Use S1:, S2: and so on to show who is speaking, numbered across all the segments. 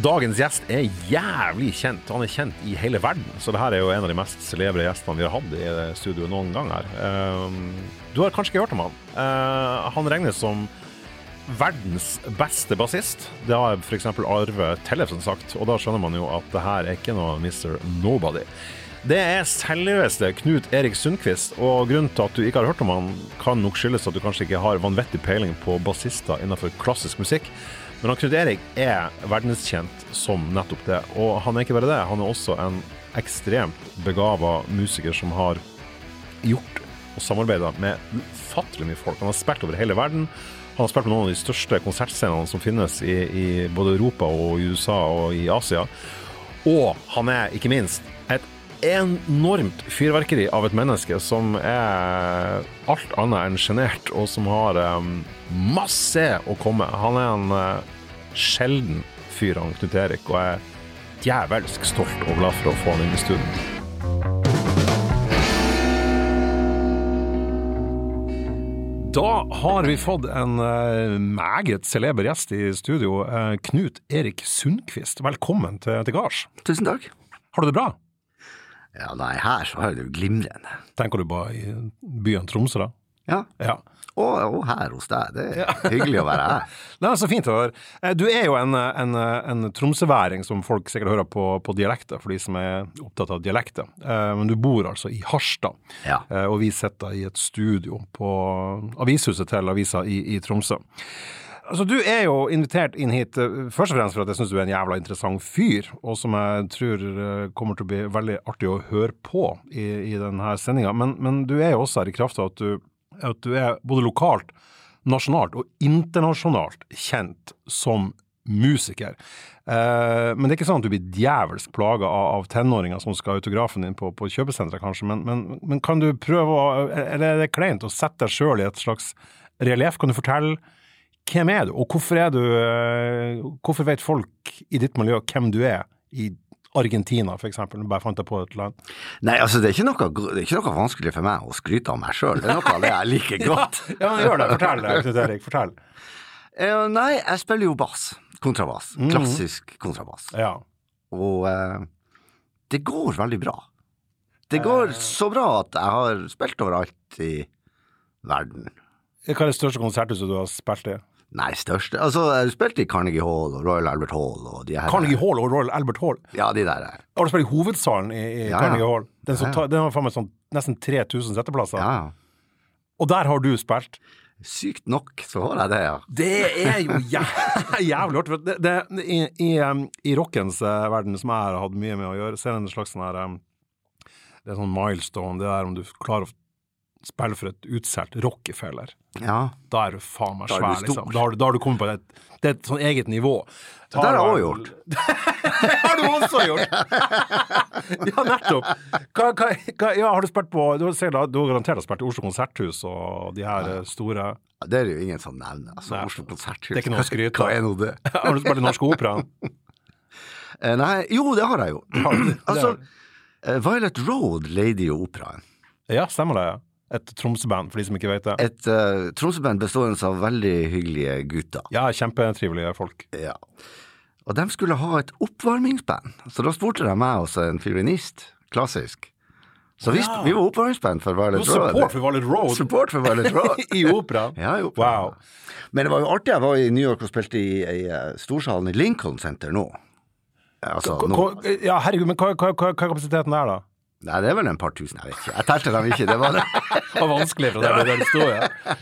S1: Dagens gjest er jævlig kjent. Han er kjent i hele verden. Så det her er jo en av de mest celebre gjestene vi har hatt i det studioet noen gang her. Ehm, Du har kanskje ikke hørt om han. Eh, Han regnes som verdens beste bassist. Det har f.eks. Arve Tellefsen sagt, og da skjønner man jo at det her er ikke noe Mr. Nobody. Det er selveste Knut Erik Sundquist, og grunnen til at du ikke har hørt om han, kan nok skyldes at du kanskje ikke har vanvittig peiling på bassister innenfor klassisk musikk. Men han Knut Erik er verdenskjent som nettopp det, og han er ikke bare det, han er også en ekstremt begava musiker som har gjort og samarbeida med ufattelig mye folk. Han har spilt over hele verden. Han har spilt på noen av de største konsertscenene som finnes i, i både Europa og i USA og i Asia. Og han er ikke minst et enormt fyrverkeri av et menneske som er alt annet enn sjenert, og som har em, masse å komme. Han er en eh, sjelden fyr, han Knut Erik, og jeg er djevelsk stolt og glad for å få han inn i studio. Da har vi fått en eh, meget celeber gjest i studio. eh, Knut Erik Sundquist, velkommen til, til gards.
S2: Tusen takk.
S1: Har du det bra?
S2: Ja, nei, her så har jeg det jo glimrende.
S1: Tenker du bare i byen Tromsø, da?
S2: Ja,
S1: Ja.
S2: og, og her hos deg. Det er hyggelig å være her.
S1: Det er så fint å høre. Eh, Du er jo en, eh, en, eh, en tromsøværing, som folk sikkert hører på, på dialekter, for de som er opptatt av dialekter. Eh, Men du bor altså i Harstad,
S2: Ja.
S1: Eh, og vi sitter i et studio på avishuset til avisa i, i Tromsø. Altså, Du er jo invitert inn hit eh, først og fremst for at jeg syns du er en jævla interessant fyr, og som jeg tror eh, kommer til å bli veldig artig å høre på i, i denne sendinga. Men, men du er jo også her i kraft av at du, at du er både lokalt, nasjonalt og internasjonalt kjent som musiker. Eh, men det er ikke sånn at du blir djevelsk plaga av, av tenåringer som skal ha autografen din på, på kjøpesenteret, kanskje. Men, men, men kan du prøve å Eller er det kleint å sette deg sjøl i et slags relieff? Kan du fortelle hvem er du, og hvorfor er du eh, Hvorfor vet folk i ditt miljø hvem du er i Argentina, for eksempel? Nå Bare fant jeg på et land.
S2: Nei, altså, det er ikke noe, gr- det er ikke noe vanskelig for meg å skryte av meg sjøl. Det er noe av det jeg liker godt.
S1: Ja, men gjør det. Fortell det, Knut Erik. Fortell.
S2: Eh, Nei, jeg spiller jo bass. Kontrabass. Klassisk kontrabass.
S1: Ja.
S2: Og eh, det går veldig bra. Det går så bra at jeg har spilt overalt i verden.
S1: Hva er det største konserthuset du har spilt i?
S2: Nei, største Altså, jeg spilte i Carnegie Hall og Royal Albert Hall og de her
S1: Carnegie Hall og Royal Albert Hall.
S2: Ja, de der.
S1: Har du spilt i hovedsalen i, i
S2: Ja, ja.
S1: Carnegie Hall? Den, som
S2: Ja, ja.
S1: tar- den har faen meg sånn nesten 3000 setteplasser.
S2: Ja, ja.
S1: Og der har du spilt.
S2: Sykt nok så har jeg det, ja.
S1: Det er jo jævlig, jævlig hardt. for Det, det, i, i, um, I rockens eh, verden, som jeg har hatt mye med å gjøre, så er det en slags sånn her um, Det er sånn milestone, det der om du klarer å spille for et utsolgt Rockefeller.
S2: Ja.
S1: Da er du faen meg
S2: Da er du
S1: svær,
S2: stor.
S1: liksom. Da har, du- da har du kommet på et, det er et sånn eget nivå.
S2: Det der har
S1: vel-
S2: jeg også gjort.
S1: har du også gjort! ja, nettopp. Hva, hva, hva, ja, har du spilt på Du har sikkert- du har garantert spilt i Oslo Konserthus og de her eh, store
S2: Ja, Det er det jo ingen som nevner. Altså,
S1: Nei.
S2: Oslo Konserthus.
S1: Det er ikke noe å skryte
S2: Hva
S1: av.
S2: er nå det?
S1: Har du spilt i Norsk Opera?
S2: Eh, Nei, jo, det har jeg jo.
S1: det har
S2: altså,
S1: du.
S2: eh, Violet Road leide jo operaen.
S1: Ja, stemmer det. Et Tromsø-band, for de som ikke vet det.
S2: Et uh, Tromsø-band bestående av veldig hyggelige gutter.
S1: Ja, kjempetrivelige folk.
S2: Ja. Og de skulle ha et oppvarmingsband, så da spurte de meg også, en fiolinist, klassisk. Så vi,
S1: Ja.
S2: vi var oppvarmingsband for Violet Road.
S1: Support for Valley Road
S2: Support for Violet Road.
S1: i operaen!
S2: Ja, jo.
S1: Wow.
S2: Men det var jo artig. Jeg var i New York og spilte i, i eh, storsalen i Lincoln Center nå. Eh, Altså, nå.
S1: Hva- Ja, herregud, men hva, hva, hva, hva er kapasiteten der, da?
S2: Nei, det er vel en par tusen, jeg vet ikke. Jeg telte dem ikke. Det var det.
S1: Det var vanskelig fra der, der det sto, ja.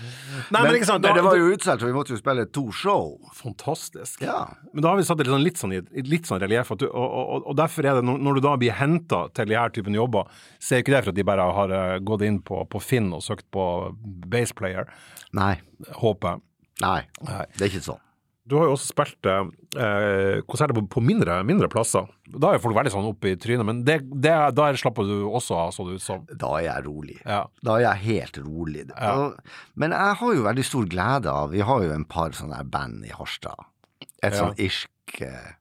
S1: Nei, men, ikke sant, da,
S2: men det var jo utsolgt, og vi måtte jo spille to show.
S1: Fantastisk.
S2: Ja.
S1: Men da har vi satt det litt sånn, litt sånn i i litt sånn relieff, at du- og, og, og derfor er det, når- når du da blir henta til de her typen jobber, så er jo ikke det for at de bare har eh, gått inn på, på Finn og søkt på baseplayer,
S2: Nei.
S1: håper jeg.
S2: Nei.
S1: Nei.
S2: Det er ikke sånn.
S1: Du har jo også spilt eh, konserter på, på mindre, mindre plasser. Da er jo folk veldig sånn oppe i trynet, men det, det, der slapper du også av, så det ut som.
S2: Da er jeg rolig.
S1: Ja.
S2: Da er jeg helt rolig. Og- Men jeg har jo veldig stor glede av Vi har jo en par sånne her band i Harstad. Et sånn irsk eh,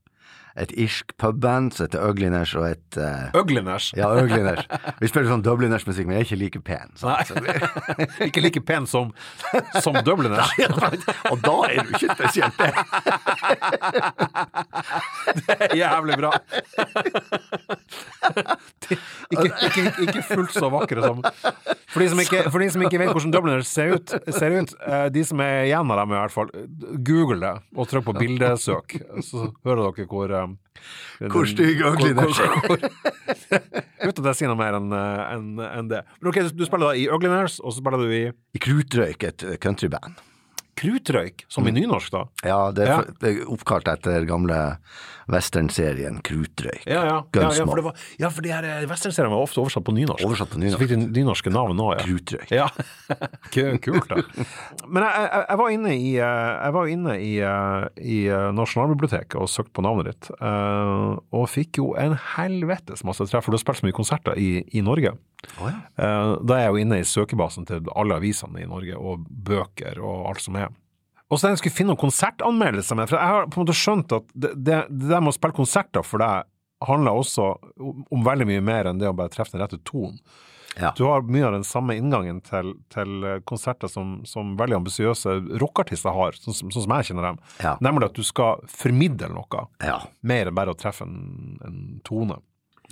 S2: et irsk pubband som heter Ugliners, og et eh,
S1: Øgliners.
S2: Ja, Ugliners. Vi spiller sånn Dubliners-musikk, men jeg er ikke like pen. Så.
S1: Nei. ikke like pen som, som Dubliners.
S2: Og da er du ikke spesielt pen.
S1: Jævlig bra. De- Ikke, ikke, ikke fullt så vakre som For de som ikke, for de som ikke vet hvordan Dubliners ser ut, ser ut eh, de som er igjen av dem, i hvert fall, google det og trykk på bildesøk, så hører dere hvor eh,
S2: Hvor stygg Ugliners er.
S1: hvor- Uten at jeg sier noe mer enn eh, enn- enn det. Men ok, Du spiller da i Ugliners, og så spiller du i
S2: I Krutrøyk, et eh, countryband.
S1: Krutrøyk, som i nynorsk, da.
S2: Ja, det er,
S1: Ja.
S2: for- det er oppkalt etter gamle westernserien Krutrøyk.
S1: Ja, ja. ja, ja,
S2: Gunsmoke.
S1: for, det var, ja for de her eh, westernseriene var ofte oversatt på nynorsk.
S2: Oversatt på nynorsk.
S1: Så fikk de nynorske navn nå, ja.
S2: Krutrøyk.
S1: Ja. Ku- Kult, da. Men jeg, jeg, jeg var inne i, eh, jeg var inne i, eh, i eh, Nasjonalbiblioteket og søkte på navnet ditt, eh, og fikk jo en helvetes masse treff, for du har spilt så mye konserter i, i Norge.
S2: Å ja.
S1: Eh, Da er jeg jo inne i søkebasen til alle avisene i Norge, og bøker og alt som er. Og så jeg skulle finne noen konsertanmeldelser med, for jeg har på en måte skjønt at det, det, det der med å spille konserter for deg handler også om, om veldig mye mer enn det å bare treffe den rette tonen.
S2: Ja.
S1: Du har mye av den samme inngangen til, til eh, konserter som, som veldig ambisiøse rockartister har, sånn, som- sånn som jeg kjenner dem.
S2: Ja.
S1: Nemlig at du skal formidle noe,
S2: ja.
S1: mer enn bare å treffe en, en tone.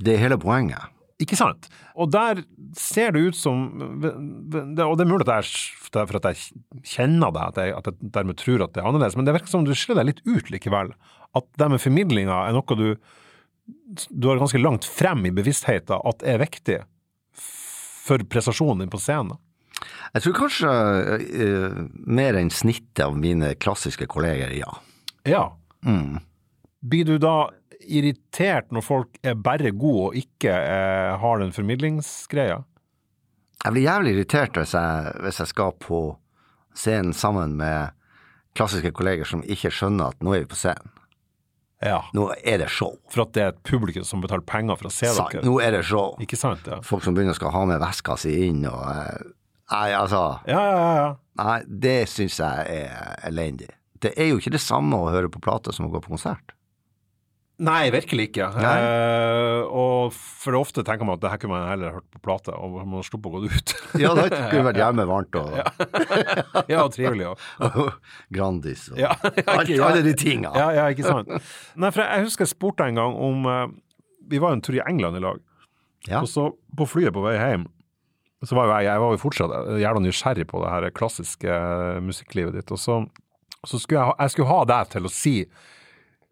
S2: Det er hele poenget.
S1: Ikke sant? Og der ser det ut som Og det er mulig at jeg, det er for at jeg kjenner deg, at jeg, at jeg dermed tror at det er annerledes, men det virker som du skiller deg litt ut likevel. At det med formidlinga er noe du, du har ganske langt frem i bevisstheten at er viktig for prestasjonen din på scenen.
S2: Jeg tror kanskje eh, mer enn snittet av mine klassiske kolleger, ja.
S1: Ja.
S2: Mm.
S1: Blir du da irritert når folk er bare gode og ikke eh, har den formidlingsgreia?
S2: Jeg blir jævlig irritert hvis jeg, hvis jeg skal på scenen sammen med klassiske kolleger som ikke skjønner at nå er vi på scenen.
S1: Ja.
S2: Nå er det show.
S1: For at det er et publikum som betaler penger for å se
S2: Sant?
S1: dere.
S2: Nå er det show.
S1: Ikke sant? Ja.
S2: Folk som begynner å skal ha med veska si inn og eh, Nei, altså.
S1: Ja, ja, ja, ja.
S2: Nei, det syns jeg er elendig. Det er jo ikke det samme å høre på plate som å gå på konsert.
S1: Nei, virkelig ikke.
S2: Nei.
S1: Eh, og for ofte tenker man at det her kunne man heller hørt på plate, og man sluppet å gå ut.
S2: Ja, da skulle vi vært hjemme varmt og
S1: ja, og trivelig. Og.
S2: Grandis og
S1: Ja,
S2: alt, alle de tinga.
S1: ja, ja, ikke sant. Nei, for jeg, jeg husker jeg spurte en gang om eh, Vi var jo en tur i England i lag,
S2: Ja.
S1: og så på flyet på vei hjem så var jo jeg, jeg var jo fortsatt jævla nysgjerrig på det her klassiske eh, musikklivet ditt, og så, så skulle jeg, ha- jeg skulle ha deg til å si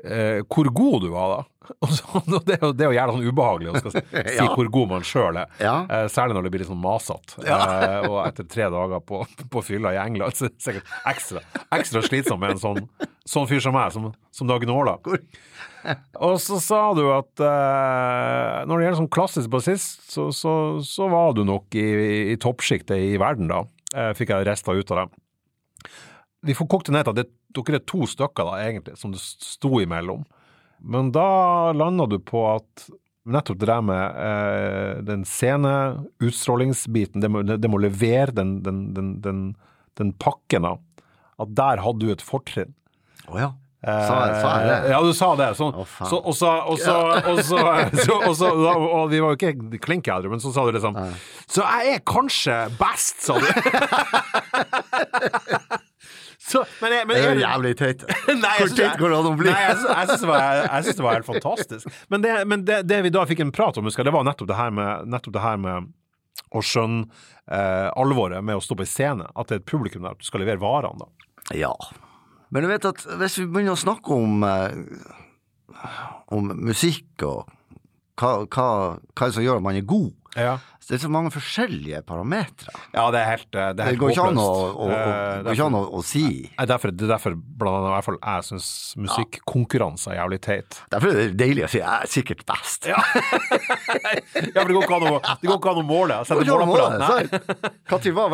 S1: eh, hvor god du var, da. Og så, og det, er jo, det er jo jævla sånn ubehagelig å skal si
S2: Ja.
S1: hvor god man sjøl er.
S2: Ja.
S1: Eh, særlig når det blir litt sånn masete. Eh, og etter tre dager på, på fylla i England, så er det sikkert ekstra, ekstra slitsomt med en sånn, sånn fyr som meg, som, som da gnåler. Og så sa du at eh, når det gjelder sånn klassisk bassist, så, så, så var du nok i, i toppsjiktet i verden, da. Eh, fikk jeg resta ut av det. Vi får kokt det ned til at det, dere er to stykker, da, egentlig, som det sto imellom. Men da landa du på at nettopp det der med eh, den scene, utstrålingsbiten, det må, det må levere den, den, den, den, den pakken, da. At der hadde du et fortrinn.
S2: Å ja. Sa, jeg- sa jeg
S1: Eh,
S2: det?
S1: Ja, du sa det. Sånn.
S2: Å, faen.
S1: så, og så, og så, og så, så, og så da, og vi var jo ikke klinkædre, men så sa du liksom Så jeg er kanskje best, sa du. så, men, jeg- men
S2: Det er
S1: jeg-
S2: jo jævlig teit.
S1: Nei, jeg
S2: Hvor
S1: synes-
S2: teit går det an å bli?
S1: Nei, jeg, synes- jeg synes det, var- jeg synes det var helt fantastisk. Men det, men det, det vi da fikk en prat om, husker jeg, det var nettopp det her med, nettopp det her med å skjønne eh, alvoret med å stå på en scene. At det er et publikum der, at du skal levere varene. da.
S2: Ja. Men du vet at hvis vi begynner å snakke om, eh, om musikk og hva, hva, hva er det som gjør at man er god,
S1: Ja.
S2: så det er så mange forskjellige parametere.
S1: Ja, det er helt eh, Det, er
S2: Det
S1: helt
S2: går ikke an å,
S1: håpløst.
S2: å, å,
S1: Eh,
S2: går ikke an å, å si.
S1: Nei, derfor, det er derfor blant annet, i hvert fall, jeg syns musikkonkurranse er jævlig teit.
S2: Derfor er det deilig å si jeg er sikkert best.
S1: Ja. ja, for det går ikke an å, det går ikke an å måle.
S2: Det
S1: Sette
S2: går ikke an å måle,
S1: måleapparat. Nei.
S2: sant? Når var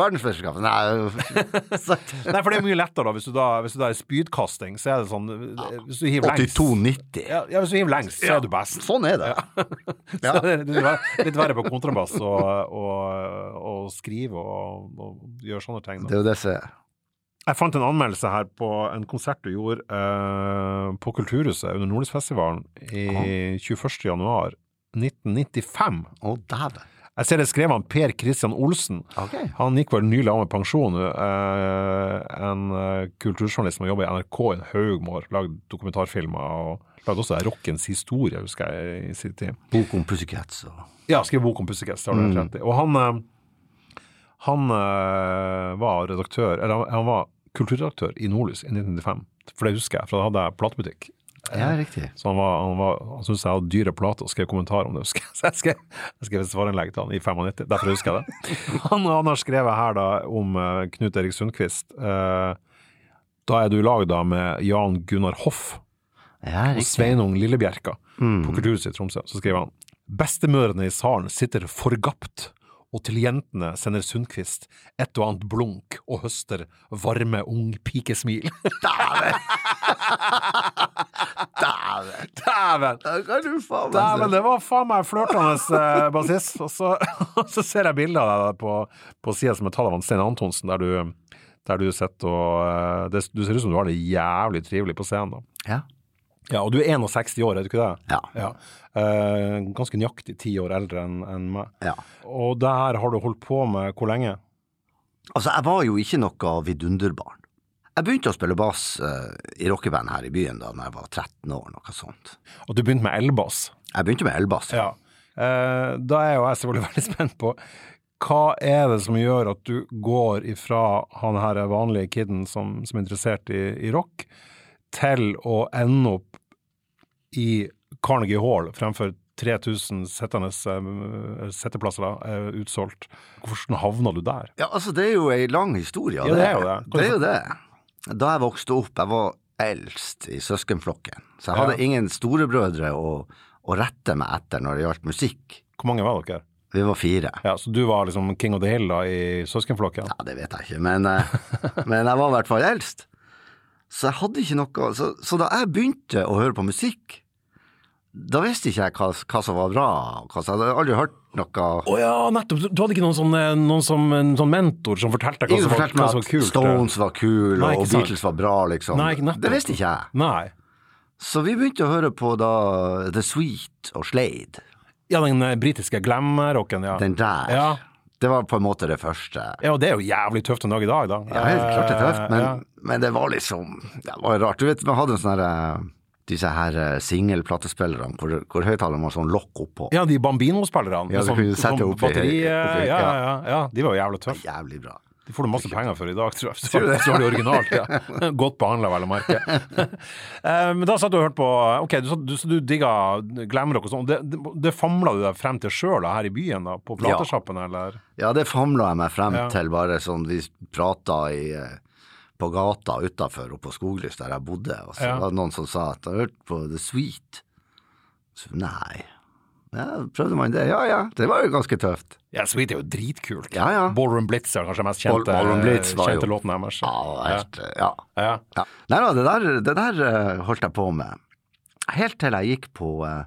S2: verdensmesterskapet? Nei, sant.
S1: Nei, for det er mye lettere da. Hvis du da, hvis du da er spydkasting, så er det sånn eh, Hvis du hiver lengst
S2: 82-90.
S1: ja, ja, hvis du hiver lengst, så er du best.
S2: Sånn er det. Ja.
S1: Så det er litt verre- litt verre på kontrabass og, og, og skrive og, og gjøre sånne ting.
S2: Det
S1: Da.
S2: er jo det som er.
S1: Jeg fant en anmeldelse her på en konsert du gjorde eh, på Kulturhuset under Nordlysfestivalen i 21. januar 1995.
S2: Å, dæven.
S1: Jeg ser det skrev han Per Christian Olsen.
S2: Ok.
S1: Han gikk vel nylig av med pensjon. nå. Eh, en eh, kulturjournalist som jobber i NRK i en haug med år. Lagd dokumentarfilmer og lagde også rockens historie, husker jeg, i sin tid.
S2: Bok om Pussycats og
S1: Ja, skrev bok om Pussycats. det har du helt rett i. Og han, eh, han eh, var redaktør, eller han- han var kulturredaktør i Nordlys i 1995. For det husker jeg, for da hadde jeg platebutikk.
S2: Ja, riktig.
S1: Så han, var, han, var, han syntes jeg hadde dyre plater og skrev kommentar om det, husker jeg. Så jeg skrev, jeg skrev et svarinnlegg til han i 95, derfor husker jeg det. Han, han har skrevet her da om eh, Knut Erik Sundquist. eh, da er du i lag da med Jan Gunnar Hoff
S2: Ja,
S1: og
S2: riktig.
S1: Sveinung Lillebjerka på Kulturhuset i Tromsø. Så skriver han Bestemødrene i salen sitter forgapt, og til jentene sender Sundquist et og annet blunk og høster varme ung pikesmil.
S2: Dæven!
S1: Dæven!
S2: Da kan du faen
S1: Dæven,
S2: meg
S1: det var faen meg flørtende eh, bassist. Og så, og så ser jeg bilder av deg på, på sida som er tatt av han Stein Antonsen, der du, der du sitter og eh, det, Du ser ut som du har det jævlig trivelig på scenen. da.
S2: Ja.
S1: Ja, og du er 61 år, er du ikke det?
S2: Ja.
S1: Eh, ganske nøyaktig ti år eldre enn enn meg.
S2: ja.
S1: Og det her har du holdt på med hvor lenge?
S2: Altså, jeg var jo ikke noe vidunderbarn. Jeg begynte å spille bass eh, i rockeband her i byen da når jeg var 13 år, noe sånt.
S1: Og du begynte med elbass.
S2: Jeg begynte med elbass.
S1: Ja. Eh, da er jo jeg selvfølgelig veldig spent på hva er det som gjør at du går ifra han her vanlige kiden som, som er interessert i, i rock, til å ende opp i Carnegie Hall fremfor 3000 sittende eh, sitteplasser da, eh, utsolgt. Hvordan havna du der?
S2: Ja, altså, det er jo ei lang historie.
S1: Ja, det er jo det.
S2: Det er jo det. Da jeg vokste opp, jeg var eldst i søskenflokken, så jeg hadde
S1: Ja.
S2: ingen storebrødre å, å rette meg etter når det gjaldt musikk.
S1: Hvor mange var dere?
S2: Vi var fire.
S1: Ja, Så du var liksom king of the hill da i søskenflokken?
S2: Ja, det vet jeg ikke, men, eh, men jeg var i hvert fall eldst. Så jeg hadde ikke noe Så, så da jeg begynte å høre på musikk, da visste ikke jeg hva, hva som var bra. Og hva som, jeg hadde aldri hørt noe
S1: Å ja, nettopp! Du, du hadde ikke noen sånn, eh, noen som, en sånn mentor som fortalte deg hva
S2: Ingen
S1: som var,
S2: fortalte
S1: hva
S2: meg
S1: som var
S2: at
S1: kult? eh.
S2: Stones var kul,
S1: Nei, ikke
S2: og
S1: sant.
S2: Beatles var bra, liksom.
S1: Nei, ikke nettopp.
S2: det visste ikke jeg.
S1: Nei.
S2: Så vi begynte å høre på da The Sweet og Slade.
S1: Ja, den eh, britiske glam-rocken, ja.
S2: Den der.
S1: Ja.
S2: Det var på en måte det første.
S1: ja, og det er jo jævlig tøft en dag i dag, da.
S2: Ja, helt klart det er tøft, men,
S1: Eh, Ja.
S2: men det var liksom Det var rart. Du vet, man hadde en sånn her eh, disse her eh, singelplatespillerne hvor, hvor høyttaleren var sånn lokk oppå.
S1: Ja, de Bambino-spillerne. med
S2: Ja, du
S1: sånn-
S2: kunne sette
S1: sånn
S2: opp i-
S1: batteri, eh,
S2: opp i-
S1: ja,
S2: ja.
S1: ja, ja, ja. De var jo jævlig tøffe.
S2: Jævlig bra.
S1: De får du masse penger for i dag, tror jeg.
S2: Tror du det?
S1: Så har de originalt, ja. Godt behandla, vel å merke. Eh, Men da satt du og hørte på Ok, du, satt- du, så du digga glamrock og sånn. Det, det, det famla du deg frem til sjøl her i byen, da? På
S2: Ja.
S1: platesjappen, eller?
S2: Ja, det famla jeg meg frem
S1: Ja.
S2: til, bare sånn vi prata i eh, på gata utafor oppe på Skoglyst, der jeg bodde, og så
S1: Ja.
S2: var det noen som sa at jeg har hørt på The Sweet. Så nei. Ja, prøvde man det? Ja ja, det var jo ganske tøft.
S1: Ja, Sweet er jo dritkult.
S2: Ja, ja.
S1: Ballroom Blitz er kanskje den mest
S2: Ball-
S1: kjente,
S2: Ballroom Blitz var jo-
S1: kjente låten deres.
S2: Ja, helt, eh, ja.
S1: Ja.
S2: Ja. Nei da, det der, det der eh, holdt jeg på med. Helt til jeg gikk på eh,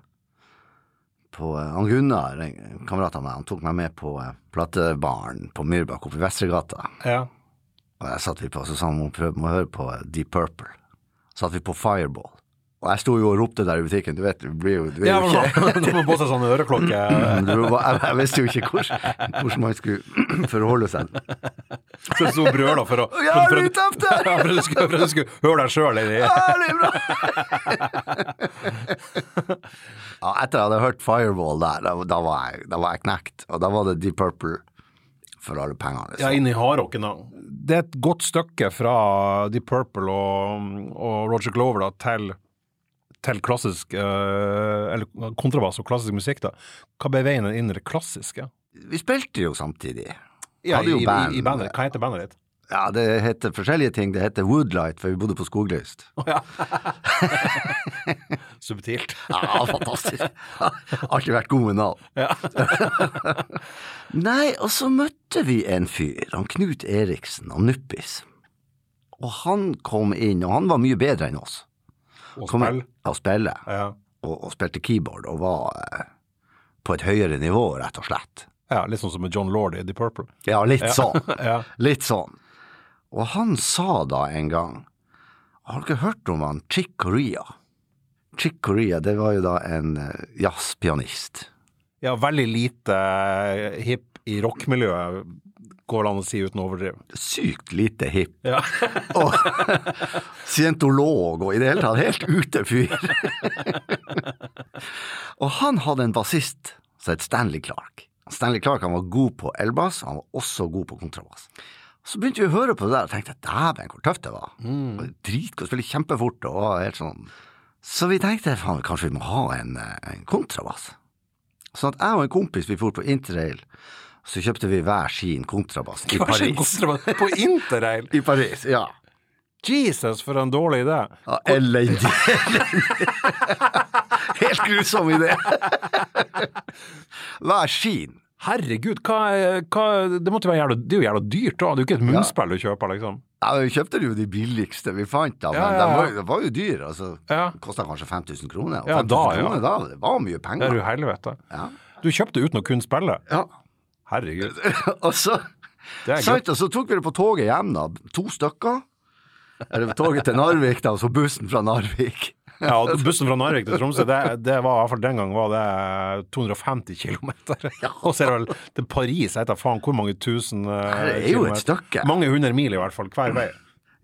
S2: På eh, Han Gunnar, en kamerat av meg, han tok meg med på eh, platebaren på Myrbakk oppe i Vestregata.
S1: Ja.
S2: Og der satt vi på, så sa han må, prøve, må høre på eh, Deep Purple. Så satt vi på Fireball. Og jeg sto jo og ropte der i butikken, du vet, du blir jo, du er
S1: ja
S2: jo
S1: men, nå- nå
S2: ikke
S1: må man på seg sånn øreklokke.
S2: du, er jo bare- jeg, jeg visste jo ikke hvordan, hvordan man skulle forholde seg.
S1: Så du brøla for å
S2: Ja,
S1: for,
S2: du
S1: for,
S2: traff der!
S1: ja, for at du skulle, for at du skulle høre deg sjøl inni
S2: Ja, det er bra! ja, etter jeg hadde hørt Fireball der, da, da, var jeg, da var jeg knekt. Og da var det Deep Purple for alle
S1: ja,
S2: pengene. Liksom.
S1: inn i hardrocken, da. Det er et godt stykke fra Deep Purple og, og Roger Glover da, til, til klassisk eh, Eller kontrabass og klassisk musikk, da. Hva ble veien inn i det klassiske?
S2: Vi spilte jo samtidig.
S1: Ja,
S2: Hadde jo
S1: i,
S2: band.
S1: i, i bandet. Hva heter bandet ditt?
S2: Ja, det heter forskjellige ting. Det heter Woodlight, for vi bodde på Skoglyst.
S1: Subtilt.
S2: Ja, fantastisk. Alltid vært god med navn. Nei, og så møtte vi en fyr, han Knut Eriksen, han Nuppis. Og han kom inn, og han var mye bedre enn oss.
S1: Og
S2: Kom
S1: spill.
S2: inn og spille.
S1: Ja.
S2: og, og spilte keyboard og var eh, på et høyere nivå, rett og slett.
S1: ja, litt sånn som med John Lord i Deep Purple.
S2: Ja, litt sånn.
S1: Ja.
S2: Litt sånn. Og han sa da en gang Har dere hørt om han Chick Corea? Chick Corea, det var jo da en eh, jazzpianist.
S1: Ja, veldig lite eh, hipp i rockmiljøet, går det an å si uten å overdrive.
S2: Sykt lite hipp.
S1: Ja.
S2: Og scientolog og i det hele tatt helt ute fyr. og han hadde en bassist som het Stanley Clark. Stanley Clark han var god på elbass, han var også god på kontrabass. Så begynte vi å høre på det der og tenkte dæven, hvor tøft det var. Det var Dritgodt, spille kjempefort og var helt sånn. Så vi tenkte faen, kanskje vi må ha en, eh, en kontrabass. Sånn at jeg og en kompis vi for på interrail, så kjøpte vi hver sin kontrabass i Paris.
S1: På interrail!
S2: I Paris, ja.
S1: Jesus, for en dårlig idé.
S2: Ja, Elendig. Helt grusom idé. Hver sin.
S1: Herregud, hva, er- hva Det måtte være jævla, det er jo jævla dyrt, da. Det er jo ikke et munnspill du kjøper, liksom.
S2: Ja, vi kjøpte jo de billigste vi fant, da, men
S1: Ja, ja, ja.
S2: de var, de var jo dyre. Altså,
S1: Ja.
S2: Kosta kanskje 5000 kroner. Og
S1: Ja,
S2: 5000
S1: da, ja.
S2: kroner da, det var mye
S1: Det er
S2: penger.
S1: jo helvete.
S2: Ja.
S1: Du kjøpte uten å kunne spille.
S2: Ja.
S1: Herregud.
S2: og så,
S1: Det er godt.
S2: sant, og så tok vi det på toget hjem, da. To stykker. Eller toget til Narvik, da, og så bussen fra Narvik.
S1: Ja, og bussen fra Narvik til Tromsø, det, det var i hvert fall den gang var det 250 km. Og så er det vel til Paris, jeg vet da faen hvor mange tusen eh,
S2: Det er jo et
S1: kilometer.
S2: stykke.
S1: Mange hundre mil i hvert fall, hver vei.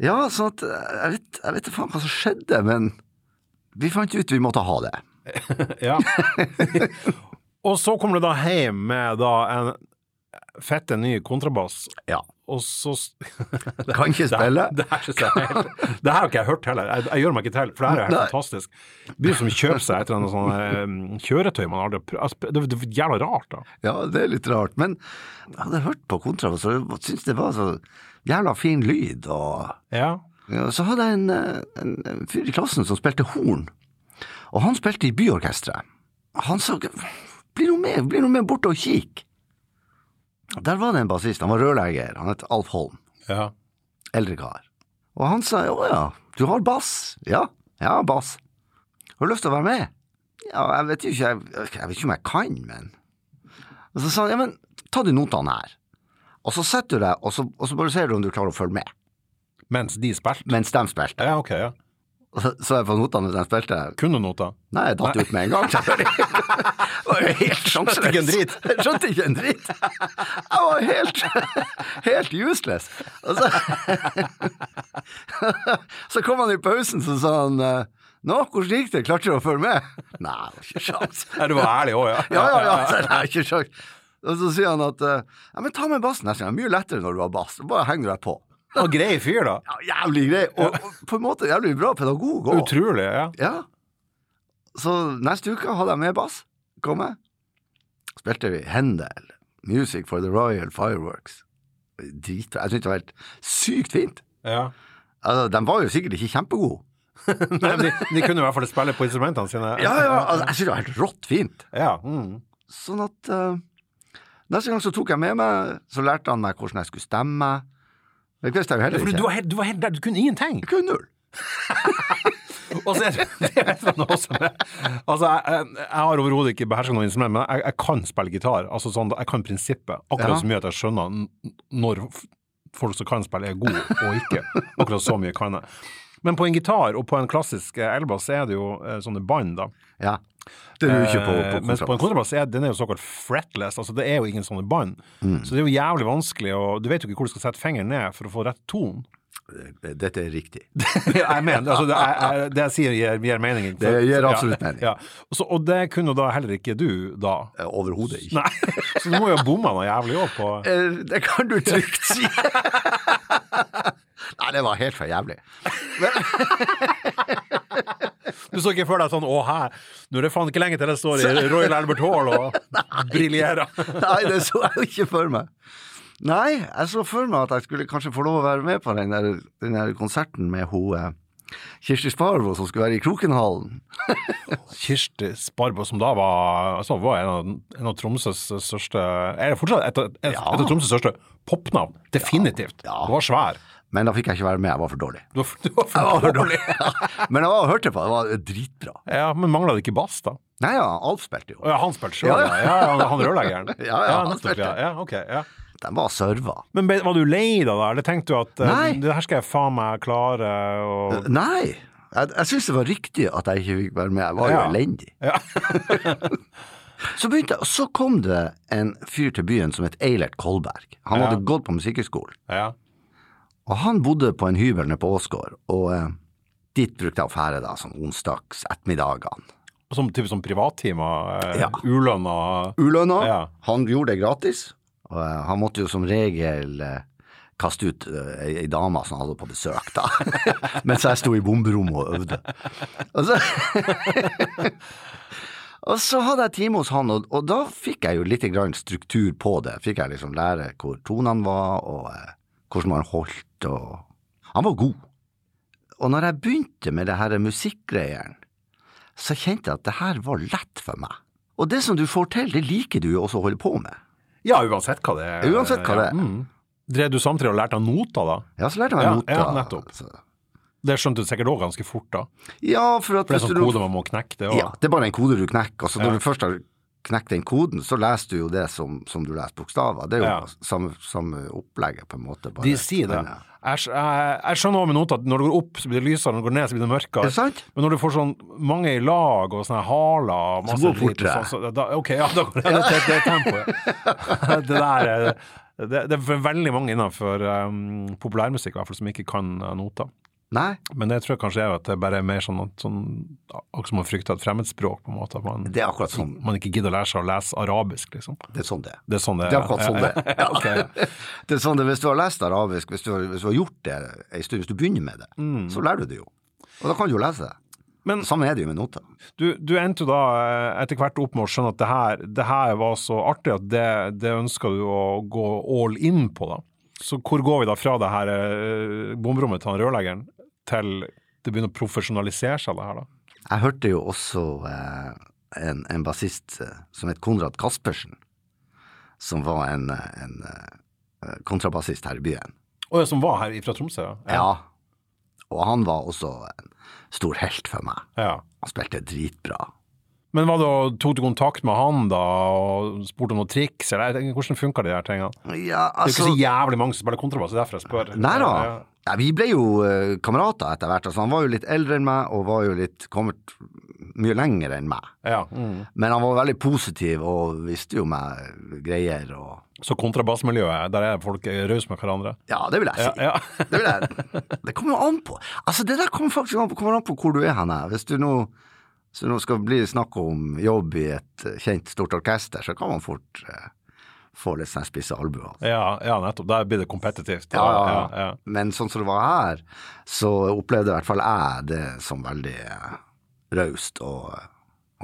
S2: Ja, sånn at jeg vet, jeg vet ikke faen hva som skjedde, men vi fant ut vi måtte ha det.
S1: Ja. og så kommer du da hjem med da en fette ny kontrabass,
S2: Ja.
S1: og så
S2: Kan ikke spille.
S1: Det her synes jeg er helt Det her har ikke jeg hørt heller. Jeg, jeg gjør meg ikke til, for det her er helt
S2: Nei.
S1: fantastisk. Det blir som å kjøpe seg et eller annet sånn eh, kjøretøy man aldri har prøvd. Altså, Det, det er jævla rart, da.
S2: Ja, det er litt rart. Men jeg hadde hørt på kontrabass og syntes det var så jævla fin lyd. Og
S1: Ja.
S2: ja, så hadde jeg en, eh, en, en fyr i klassen som spilte horn, og han spilte i byorkesteret. Han sa bli nå med, bli nå med bort og kikk. Der var det en bassist, han var rørlegger, han het Alf Holm.
S1: ja.
S2: eldre kar. Og han sa å ja, du har bass. Ja, jeg har bass. Har du lyst til å være med? Ja, jeg vet jo ikke, jeg, jeg vet ikke om jeg kan, men Og så sa han ja, men ta de notene her, og så setter du deg, og så, og så bare ser du om du klarer å følge med,
S1: Mens de spilte?
S2: mens de spilte.
S1: Ja, ok. ja.
S2: Og så så jeg på notene mens de spilte,
S1: Kunne noter?
S2: Nei, jeg datt ut med en gang. selvfølgelig. Jeg var jo helt
S1: Skjønte ikke
S2: sjanseløs.
S1: en dritt.
S2: Jeg skjønte ikke en dritt. Jeg var helt, helt useless. Og så, så kom han i pausen, så sa han Nå, hvordan gikk det? Klarte du å følge med? Nei, det var ikke sjans.
S1: Ja, du var ærlig òg, ja.
S2: Ja, ja, ja, så det er ikke sjans. Og så sier han at eh, ja, men ta med bassen neste gang. Det er Mye lettere når du har bass. Bare henger du deg på.
S1: Og grei fyr, da.
S2: Ja, jævlig grei. Og, og på en måte jævlig bra pedagog òg.
S1: Utrolig. ja.
S2: Ja. Så neste uke hadde jeg med bass. Kom jeg. Spilte vi Handel, Music for the Royal Fireworks. Dritbra. Jeg syntes det var helt sykt fint.
S1: ja.
S2: Altså, de var jo sikkert ikke kjempegode.
S1: Nei, men de, de kunne i hvert fall spille på instrumentene sine.
S2: Ja, ja, altså, jeg syntes det var helt rått fint.
S1: Ja, mm.
S2: Sånn at eh, Neste gang så tok jeg med meg, så lærte han meg hvordan jeg skulle stemme. Det visste jeg jo
S1: Ja,
S2: heller
S1: for du, du
S2: ikke.
S1: var helt, du var helt der, du kunne ingenting.
S2: Jeg kunne null.
S1: Og så er det det er et eller annet også med Altså, jeg, jeg- jeg har overhodet ikke behersket noe instrument, men jeg, jeg kan spille gitar. Altså sånn, Jeg kan prinsippet akkurat
S2: Ja.
S1: så mye at jeg skjønner n- når f- folk som kan spille, er gode og ikke. Akkurat så mye kan jeg. Men på en gitar og på en klassisk eh, elbass så er det jo eh, sånne bånd, da.
S2: Ja. Det lurer ikke på,
S1: Eh,
S2: på
S1: Mens på en
S2: kontrabass.
S1: kontrabass er den er jo såkalt fretless, altså det er jo ingen sånne bånd.
S2: Mm.
S1: Så det er jo jævlig vanskelig, og du vet jo ikke hvor du skal sette fingeren ned for å få rett tone.
S2: Dette er riktig.
S1: jeg mener, altså, det, jeg, jeg, det jeg sier gir, gir mening.
S2: Det gir absolutt mening.
S1: Ja. Og Så, og det kunne da heller ikke du da.
S2: Eh, Overhodet ikke.
S1: Nei, så du må jo ha bomma noe jævlig òg på
S2: Eh, Det kan du trygt si. Nei, det var helt for jævlig.
S1: Du så ikke for deg sånn å her, nå er det faen ikke lenge til jeg står i Royal Albert Hall og briljerer.
S2: Nei, det så jeg jo ikke for meg. Nei, jeg så for meg at jeg skulle kanskje få lov å være med på den der, den der konserten med hun eh, Kirsti Sparvo som skulle være i Krokenhallen.
S1: Kirsti Sparbo, som da var, altså, var en, av, en av Tromsøs største Er det fortsatt et, av- et,
S2: Ja.
S1: et av Tromsøs største popnavn? Definitivt.
S2: Ja.
S1: Du var svær.
S2: Men da fikk jeg ikke være med, jeg var for dårlig.
S1: Du var, du var
S2: Jeg var
S1: for
S2: for
S1: dårlig.
S2: dårlig. Men jeg var og hørte på, det var dritbra.
S1: Ja, men mangla det ikke bass, da?
S2: Nei ja, Alf
S1: Å
S2: spilte jo.
S1: Ja, han spilte sjøl, ja.
S2: Ja,
S1: ja. ja, han- Han rørleggeren?
S2: Ja, ja, han
S1: nettopp,
S2: spilte.
S1: ja. ja ok, ja.
S2: De var serva.
S1: Men ble- var du lei deg da, eller tenkte du at eh,
S2: Nei. Eh.
S1: det her skal jeg faen meg klare? Og...
S2: Nei, jeg, jeg syns det var riktig at jeg ikke fikk være med. Jeg var jo
S1: Ja.
S2: elendig.
S1: Ja.
S2: så begynte jeg, og så kom det en fyr til byen som het Eilert Kolberg. Han
S1: Ja.
S2: hadde gått på Musikkhøgskolen.
S1: Ja.
S2: Og han bodde på en hybel nede på Åsgård, og eh, dit brukte jeg å fære da, sånn onsdags ettermiddagene.
S1: Som type sånn privattimer? Eh,
S2: Ja.
S1: Ulønna?
S2: Ulønna,
S1: Ja.
S2: han gjorde det gratis, og eh, han måtte jo som regel eh, kaste ut eh, ei- ei dame som han hadde på besøk, da, mens jeg sto i bomberommet og øvde. Og så, og så hadde jeg time hos han, og, og da fikk jeg jo litt grann struktur på det. Fikk jeg liksom lære hvor tonene var, og eh, hvordan man holdt, og Han var god. Og når jeg begynte med det her musikkgreiene, så kjente jeg at det her var lett for meg. Og det som du får til, det liker du jo også å holde på med.
S1: Ja, uansett hva det er.
S2: Uansett hva
S1: Ja,
S2: det er.
S1: Mm. Drev du samtidig og lærte av noter, da?
S2: Ja, så lærte jeg meg
S1: Ja,
S2: noter.
S1: ja, nettopp.
S2: Så-
S1: Det skjønte du sikkert òg ganske fort, da.
S2: Ja, for at
S1: For det er
S2: hvis
S1: sånn
S2: du-
S1: kode man må knekke, det òg.
S2: Ja, det er bare en kode du knekker. Altså,
S1: Ja.
S2: når du først har knekt den koden, så leser du jo det som, som du leser bokstaver. Det er jo
S1: Ja.
S2: samme, samme opplegget, på en måte. Bare.
S1: De sier det.
S2: Men, ja.
S1: Jeg, skj- jeg, jeg skjønner også med noter at når det går opp, så blir det lysere, når det går ned, så blir det
S2: Er
S1: mørkere.
S2: det sant?
S1: Men når du får sånn mange i lag og sånne haler og masse
S2: Så går det
S1: drit og
S2: fortere.
S1: sånn, så da, Ok, ja, da går det, det, det, er tempoet. det der er det, det er for veldig mange innenfor um, populærmusikk i hvert fall som ikke kan eh, noter.
S2: Nei,
S1: Men det tror jeg kanskje er at det bare er mer sånn, at- sånn akkurat som å frykte et fremmedspråk, på en måte. At man,
S2: det er akkurat sånn
S1: man ikke gidder å lære seg å lese arabisk, liksom.
S2: det er. Sånn det er.
S1: Det er sånn det
S2: Det er akkurat sånn det er.
S1: Ja, ok.
S2: Det er sånn det, hvis du har lest arabisk, hvis du, har- hvis du har gjort det en stund, hvis du begynner med det, så lærer du det jo. Og da kan du jo lese det.
S1: Mm. Men-
S2: Samme er det jo med noter.
S1: Du, du endte jo da eh, etter hvert opp med å skjønne at det her, det her var så artig at det, det ønska du å gå all in på, da. Så hvor går vi da fra det her eh, bomrommet til han rørleggeren til det begynner å profesjonalisere seg, det her, da?
S2: Jeg hørte jo også eh, en, en bassist eh, som het Konrad Kaspersen, som var en, eh, en eh, kontrabassist her i byen.
S1: Å ja, som var her fra Tromsø, ja.
S2: Ja. Og han var også en stor helt for meg.
S1: ja.
S2: Han spilte dritbra.
S1: Men hva da, tok du kontakt med han da, og spurte om noen triks, eller jeg tenker, hvordan funka de her tingene? Det er
S2: Ja,
S1: jo ikke
S2: altså
S1: så jævlig mange som spiller kontrabass, det er derfor jeg spør.
S2: Nei da.
S1: Ja.
S2: Nei, vi ble jo eh, kamerater etter hvert. Altså, han var jo litt eldre enn meg, og var jo litt kommet mye lenger enn meg.
S1: Ja. Mm.
S2: Men han var veldig positiv og visste jo meg greier og
S1: Så kontrabassmiljøet, der er folk eh, rause med hverandre?
S2: Ja, det vil jeg si.
S1: Ja, ja.
S2: Det, vil jeg, det kommer jo an på. Altså, det der kommer faktisk an på, kommer an på hvor du er hen. her. Hvis du nå, hvis det nå skal bli snakk om jobb i et eh, kjent, stort orkester, så kan man fort eh, få litt sånn spisse albuer.
S1: Ja, ja, nettopp. Der blir det kompetitivt.
S2: Ja, ja, ja. Men sånn som det var her, så opplevde i hvert fall jeg det som veldig eh, raust og,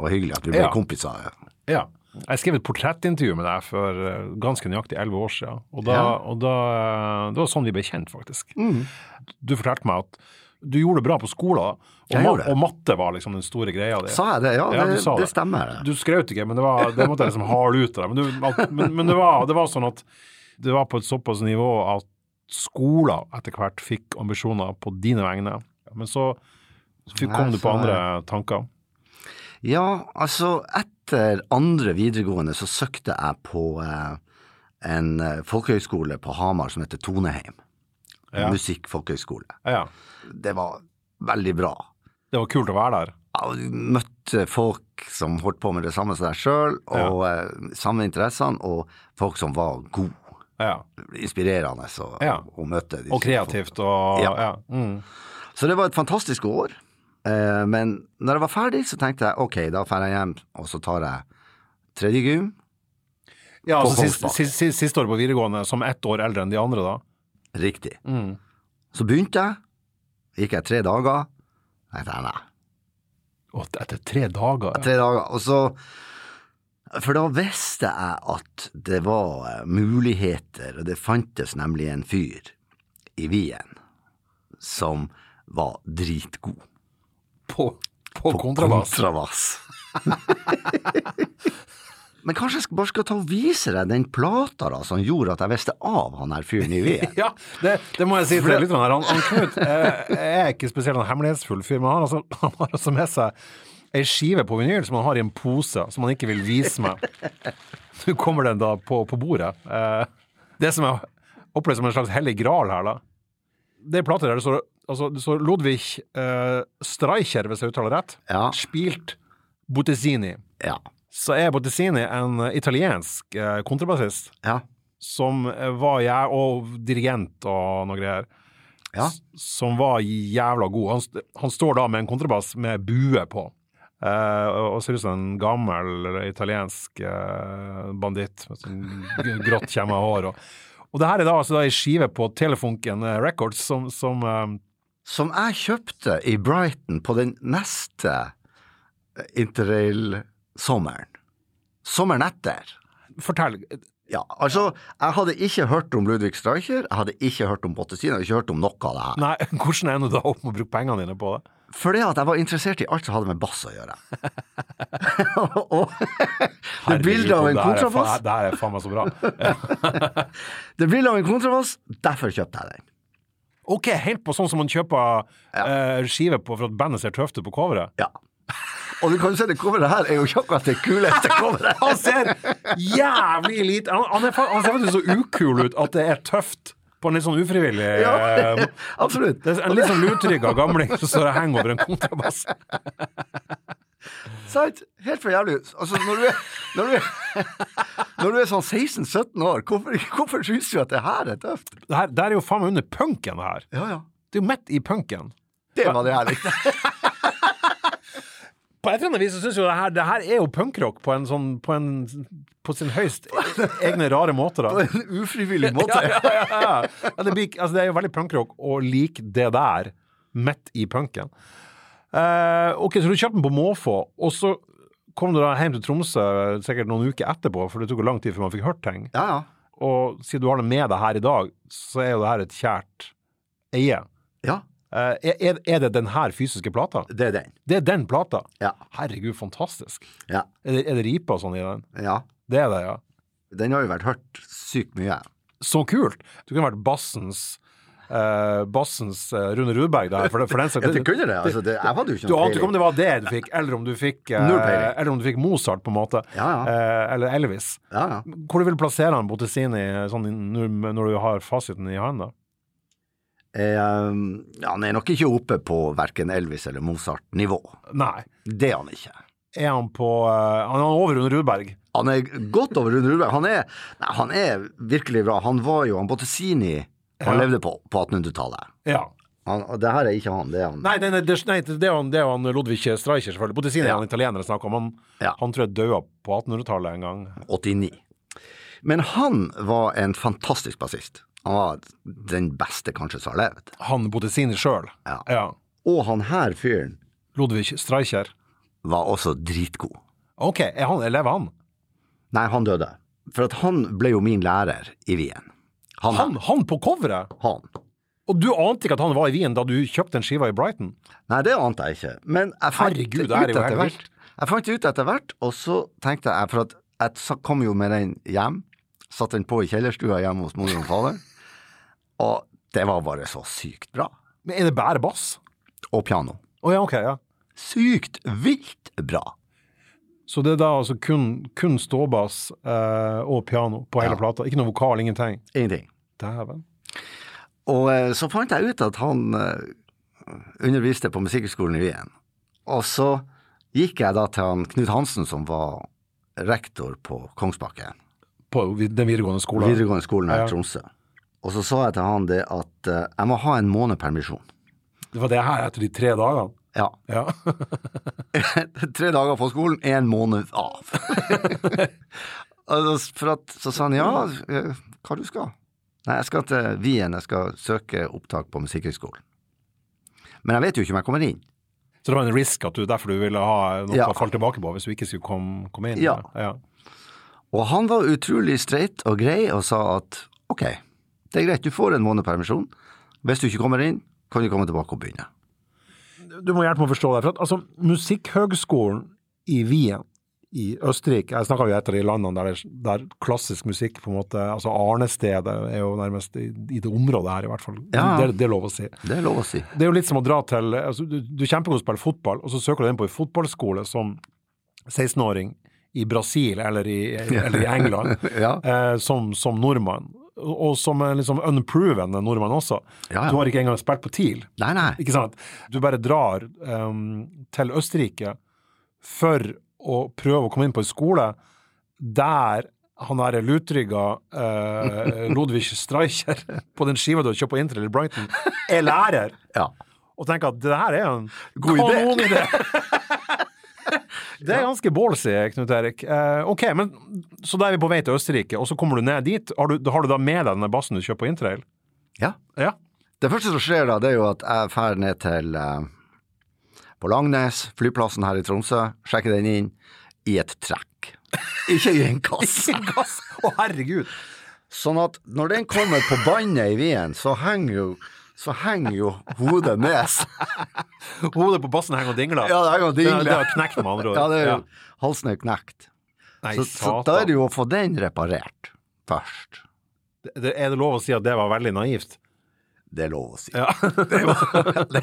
S2: og hyggelig at vi ble
S1: Ja.
S2: kompiser.
S1: ja. ja. Jeg skrev et portrettintervju med deg for eh, ganske nøyaktig elleve år siden. Og, da,
S2: Ja.
S1: og da, eh, det var sånn vi ble kjent, faktisk.
S2: Mm.
S1: Du fortalte meg at du gjorde det bra på skolen, og,
S2: Jeg
S1: ma
S2: gjorde det.
S1: og matte var liksom den store greia di.
S2: Sa jeg det? Ja,
S1: Ja,
S2: det,
S1: du sa
S2: det
S1: det.
S2: stemmer.
S1: Du skrøt ikke, men det, var, det måtte jeg liksom harde ut av deg. Men, du, at- men, men det, var, det var sånn at det var på et såpass nivå at skoler etter hvert fikk ambisjoner på dine vegne. Men så, fikk,
S2: Nei,
S1: kom du
S2: så-
S1: på andre tanker.
S2: Ja, altså etter andre videregående så søkte jeg på eh, en eh, folkehøyskole på Hamar som heter Toneheim.
S1: Ja.
S2: Musikkfolkehøyskole.
S1: Ja.
S2: Det var veldig bra.
S1: Det var kult å være der.
S2: Jeg møtte folk som holdt på med det samme som deg sjøl, og eh, samme interessene, og folk som var gode.
S1: Ja.
S2: Inspirerende å
S1: Ja.
S2: å møte. disse
S1: Og kreativt og
S2: Ja.
S1: Liksom, ja. Mm.
S2: Så det var et fantastisk år. Eh, Men når jeg var ferdig, så tenkte jeg ok, da drar jeg hjem, og så tar jeg tredje gym.
S1: ja
S2: På
S1: altså, sist,
S2: Kongsbakken.
S1: sist, sist, siste år på videregående, som ett år eldre enn de andre, da.
S2: Riktig.
S1: Mm.
S2: Så begynte jeg. Gikk jeg tre dager. Nei, nei, nei.
S1: Og etter tre dager ja.
S2: Tre dager. Og så For da visste jeg at det var eh, muligheter, og det fantes nemlig en fyr i Wien som var dritgod
S1: på, på,
S2: på
S1: kontrabass.
S2: kontrabass. Men kanskje jeg skal- bare skal ta og vise deg den plata da, som gjorde at jeg visste av han her fyren i Wien.
S1: Ja, det, det må jeg si til lytterne her. Han, han Knut eh, er ikke spesielt en hemmelighetsfull fyr, men han har, altså, han har altså med seg ei skive på vinyl som han har i en pose, som han ikke vil vise meg. Nå kommer den da på, på bordet. Eh, Det som jeg opplever som en slags hellig gral her, da Det er plater der det står altså, det står Lodvig eh, Streicher, hvis jeg uttaler rett,
S2: Ja.
S1: spilt Bottesini.
S2: Ja.
S1: Så er Bottesini en italiensk eh, kontrabassist
S2: Ja.
S1: som eh, var jeg, og dirigent og noe greier,
S2: Ja.
S1: s- som var jævla god. Han, st- han står da med en kontrabass med bue på. eh, og og ser ut som en gammel italiensk eh, banditt med sånn g- grått kjemma hår. Og, og det her er da altså da ei skive på Telefunken eh, Records som, som eh,
S2: Som jeg kjøpte i Brighton på den neste eh, interrail-sommeren. Sommeren etter.
S1: Fortell.
S2: Ja, altså, jeg hadde ikke hørt om Ludvig Streicher, jeg hadde ikke hørt om Bottestin, jeg hadde ikke hørt om noe av det her.
S1: Nei, hvordan er du da opp med å bruke pengene dine på det?
S2: Fordi at jeg var interessert i alt som hadde med bass å gjøre. og det bildet av
S1: Herregud, det her
S2: en
S1: er fa-
S2: kontrabass
S1: Det her er faen meg så bra.
S2: Det bildet av en kontrabass, derfor kjøpte jeg den.
S1: Ok, helt på sånn som man kjøper eh, skive på for at bandet ser tøft ut på coveret.
S2: Ja. Og du kan jo se det coveret her er jo ikke akkurat det kuleste coveret.
S1: Han ser jævlig lite Han, han, er, fa- han ser faktisk så ukul ut at det er tøft på en litt sånn ufrivillig
S2: Ja,
S1: eh,
S2: absolutt.
S1: det er En litt sånn lutrygga gamling som står og henger over en kontrabass.
S2: Sant? Helt for jævlig. Altså, når du er, når du er, når du er sånn 16-17 år, hvorfor, hvorfor syns du at det her er tøft?
S1: Det her, det her er jo faen meg under punken, det her.
S2: Ja, ja.
S1: Det er jo midt i punken.
S2: Det liksom. var det jeg likte.
S1: På et eller annet vis så syns jeg jo det her, det her er jo punkrock på en sånn på, en, på sin høyst e- egne rare måter,
S2: På
S1: da.
S2: en ufrivillig måte.
S1: Ja, ja, ja, ja. Ja, Det, blir, ikke- altså, det er jo veldig punkrock å like det der midt i punken. Eh, ok, så du kjøpte den på måfå, og så kom du da hjem til Tromsø sikkert noen uker etterpå, for det tok jo lang tid før man fikk hørt ting.
S2: Ja, ja.
S1: Og siden du har det med deg her i dag, så er jo det her et kjært eie.
S2: Ja,
S1: Eh, er- er, er det den her fysiske plata?
S2: det er den.
S1: Det er den plata?
S2: Ja.
S1: Herregud, fantastisk.
S2: Ja.
S1: Er det, er det riper og sånn i den?
S2: ja.
S1: Det er det, ja.
S2: Den har jo vært hørt sykt mye.
S1: Så kult! Du kunne vært bassens eh, Bassens eh, Rune Rudberg der. For, det- for den
S2: Ja, det
S1: saks-
S2: kunne det. Altså, det jeg hadde jo ikke
S1: du
S2: noe
S1: ante ikke om det var det du fikk, eller om du fikk, eh,
S2: Null peiling.
S1: eller om du fikk Mozart, på en måte.
S2: Ja, ja.
S1: Eh, eller Elvis.
S2: Ja, ja.
S1: Hvor du vil plassere han Bottesini sånn, i- når når du har fasiten i hånda?
S2: Eh, ja, han er nok ikke oppe på verken Elvis eller Mozart-nivå.
S1: Nei.
S2: Det er han ikke.
S1: Er han på eh, Han er over Rune Rudberg.
S2: Han er godt over Rune Rudberg. Han er, nei, han er virkelig bra. Han var jo han Bottesini han
S1: Ja.
S2: levde på på 1800-tallet.
S1: Ja.
S2: Han, og det her er ikke han, det er han.
S1: Nei, det, det, nei, det er jo han- det er jo han Lodvig Streicher, selvfølgelig. Bottesini
S2: Ja.
S1: er han italieneren jeg snakker om. Han,
S2: Ja.
S1: han tror jeg døde på 1800-tallet en gang.
S2: 89. Men han var en fantastisk bassist. Han var den beste kanskje som har levd.
S1: Han Bottesini sjøl.
S2: Ja. Og han her fyren
S1: Lodvig Streicher.
S2: var også dritgod.
S1: Ok, er han, lever han?
S2: Nei, han døde. For at han ble jo min lærer i Wien. Han,
S1: Han,
S2: han.
S1: han på coveret? Og du ante ikke at han var i Wien da du kjøpte den skiva i Brighton?
S2: Nei, det ante jeg ikke. Men jeg fant
S1: Herregud, det
S2: det
S1: her er
S2: ut
S1: jo
S2: etter
S1: helt
S2: hvert. Jeg fant det ut etter hvert, og så tenkte jeg, for at jeg sa- kom jo med den hjem, satt den på i kjellerstua hjemme hos mor og fader, og det var bare så sykt bra.
S1: Men er det bare bass?
S2: Og piano.
S1: Å ja, ok, ja.
S2: Sykt vilt bra.
S1: Så det er da altså kun, kun ståbass eh, og piano på hele
S2: Ja.
S1: plata? Ikke noe vokal, ingenting?
S2: Ingenting.
S1: Dæven.
S2: Og eh, så fant jeg ut at han eh, underviste på Musikkhøgskolen i Wien. Og så gikk jeg da til han Knut Hansen, som var rektor på Kongsbakken,
S1: På vi- den videregående skolen?
S2: videregående skolen her
S1: Ja.
S2: i Tromsø. Og så sa jeg til han det at eh, jeg må ha en måned permisjon.
S1: Det var det her etter de tre dagene?
S2: Ja.
S1: Ja.
S2: Tre dager på skolen, én måned av. altså, for at, så sa han ja, eh, hva du skal? Nei, jeg skal til Wien, jeg skal søke opptak på Musikkhøgskolen. Men jeg vet jo ikke om jeg kommer inn.
S1: Så det var en risk at du derfor du ville ha noe
S2: Ja.
S1: å falle tilbake på hvis du ikke skulle komme, komme inn?
S2: Ja. Og han var utrolig streit og grei og sa at ok, det er greit, du får en måned permisjon. Hvis du ikke kommer inn, kan du komme tilbake og begynne.
S1: Du må hjelpe meg å forstå det. For at, altså, Musikkhøgskolen i Wien i Østerrike Jeg snakker jo et av de landene der, det- der klassisk musikk på en måte, altså Arnestedet er jo nærmest i, i det området her, i hvert fall.
S2: Ja.
S1: Det, det er lov å si.
S2: Det er lov å si.
S1: Det er jo litt som å dra til altså, Du, du er kjempegod til å spille fotball, og så søker du inn på en fotballskole som 16-åring i Brasil eller i, eller i England
S2: Ja.
S1: eh, som, som nordmann. og som er liksom unproven nordmann også.
S2: Ja, ja.
S1: Du har ikke engang spilt på TIL.
S2: Nei, nei.
S1: Ikke sant? Du bare drar ehm, til Østerrike for å prøve å komme inn på en skole der han derre lutrygga eh, Lodvig Streicher på den skiva du har kjøpt på Inter eller Brighton, er lærer.
S2: Ja.
S1: Og tenker at det her er en
S2: God idé.
S1: kanonidé! Det er ganske ballsy, Knut Erik. Eh, ok, men Så da er vi på vei til Østerrike, og så kommer du ned dit. Har du, da har du da med deg denne bassen du kjøper på interrail?
S2: ja.
S1: Ja.
S2: Det første som skjer da, det er jo at jeg drar ned til eh, på Langnes, flyplassen her i Tromsø, sjekker den inn i et trekk. Ikke i en kasse.
S1: Gass! Å, herregud!
S2: Sånn at når den kommer på bandet i Wien, så henger jo, så henger jo hodet med seg.
S1: Hodet på bassen henger og dingler.
S2: Ja, det henger og dingler.
S1: Det, det har knekt, med andre ord.
S2: Ja, det er jo, halsen er jo knekt.
S1: Nei,
S2: Så, så da er det jo å få den reparert først.
S1: satan. Det- Er det lov å si at det var veldig naivt?
S2: Det er lov å si.
S1: Ja.
S2: Det var, det,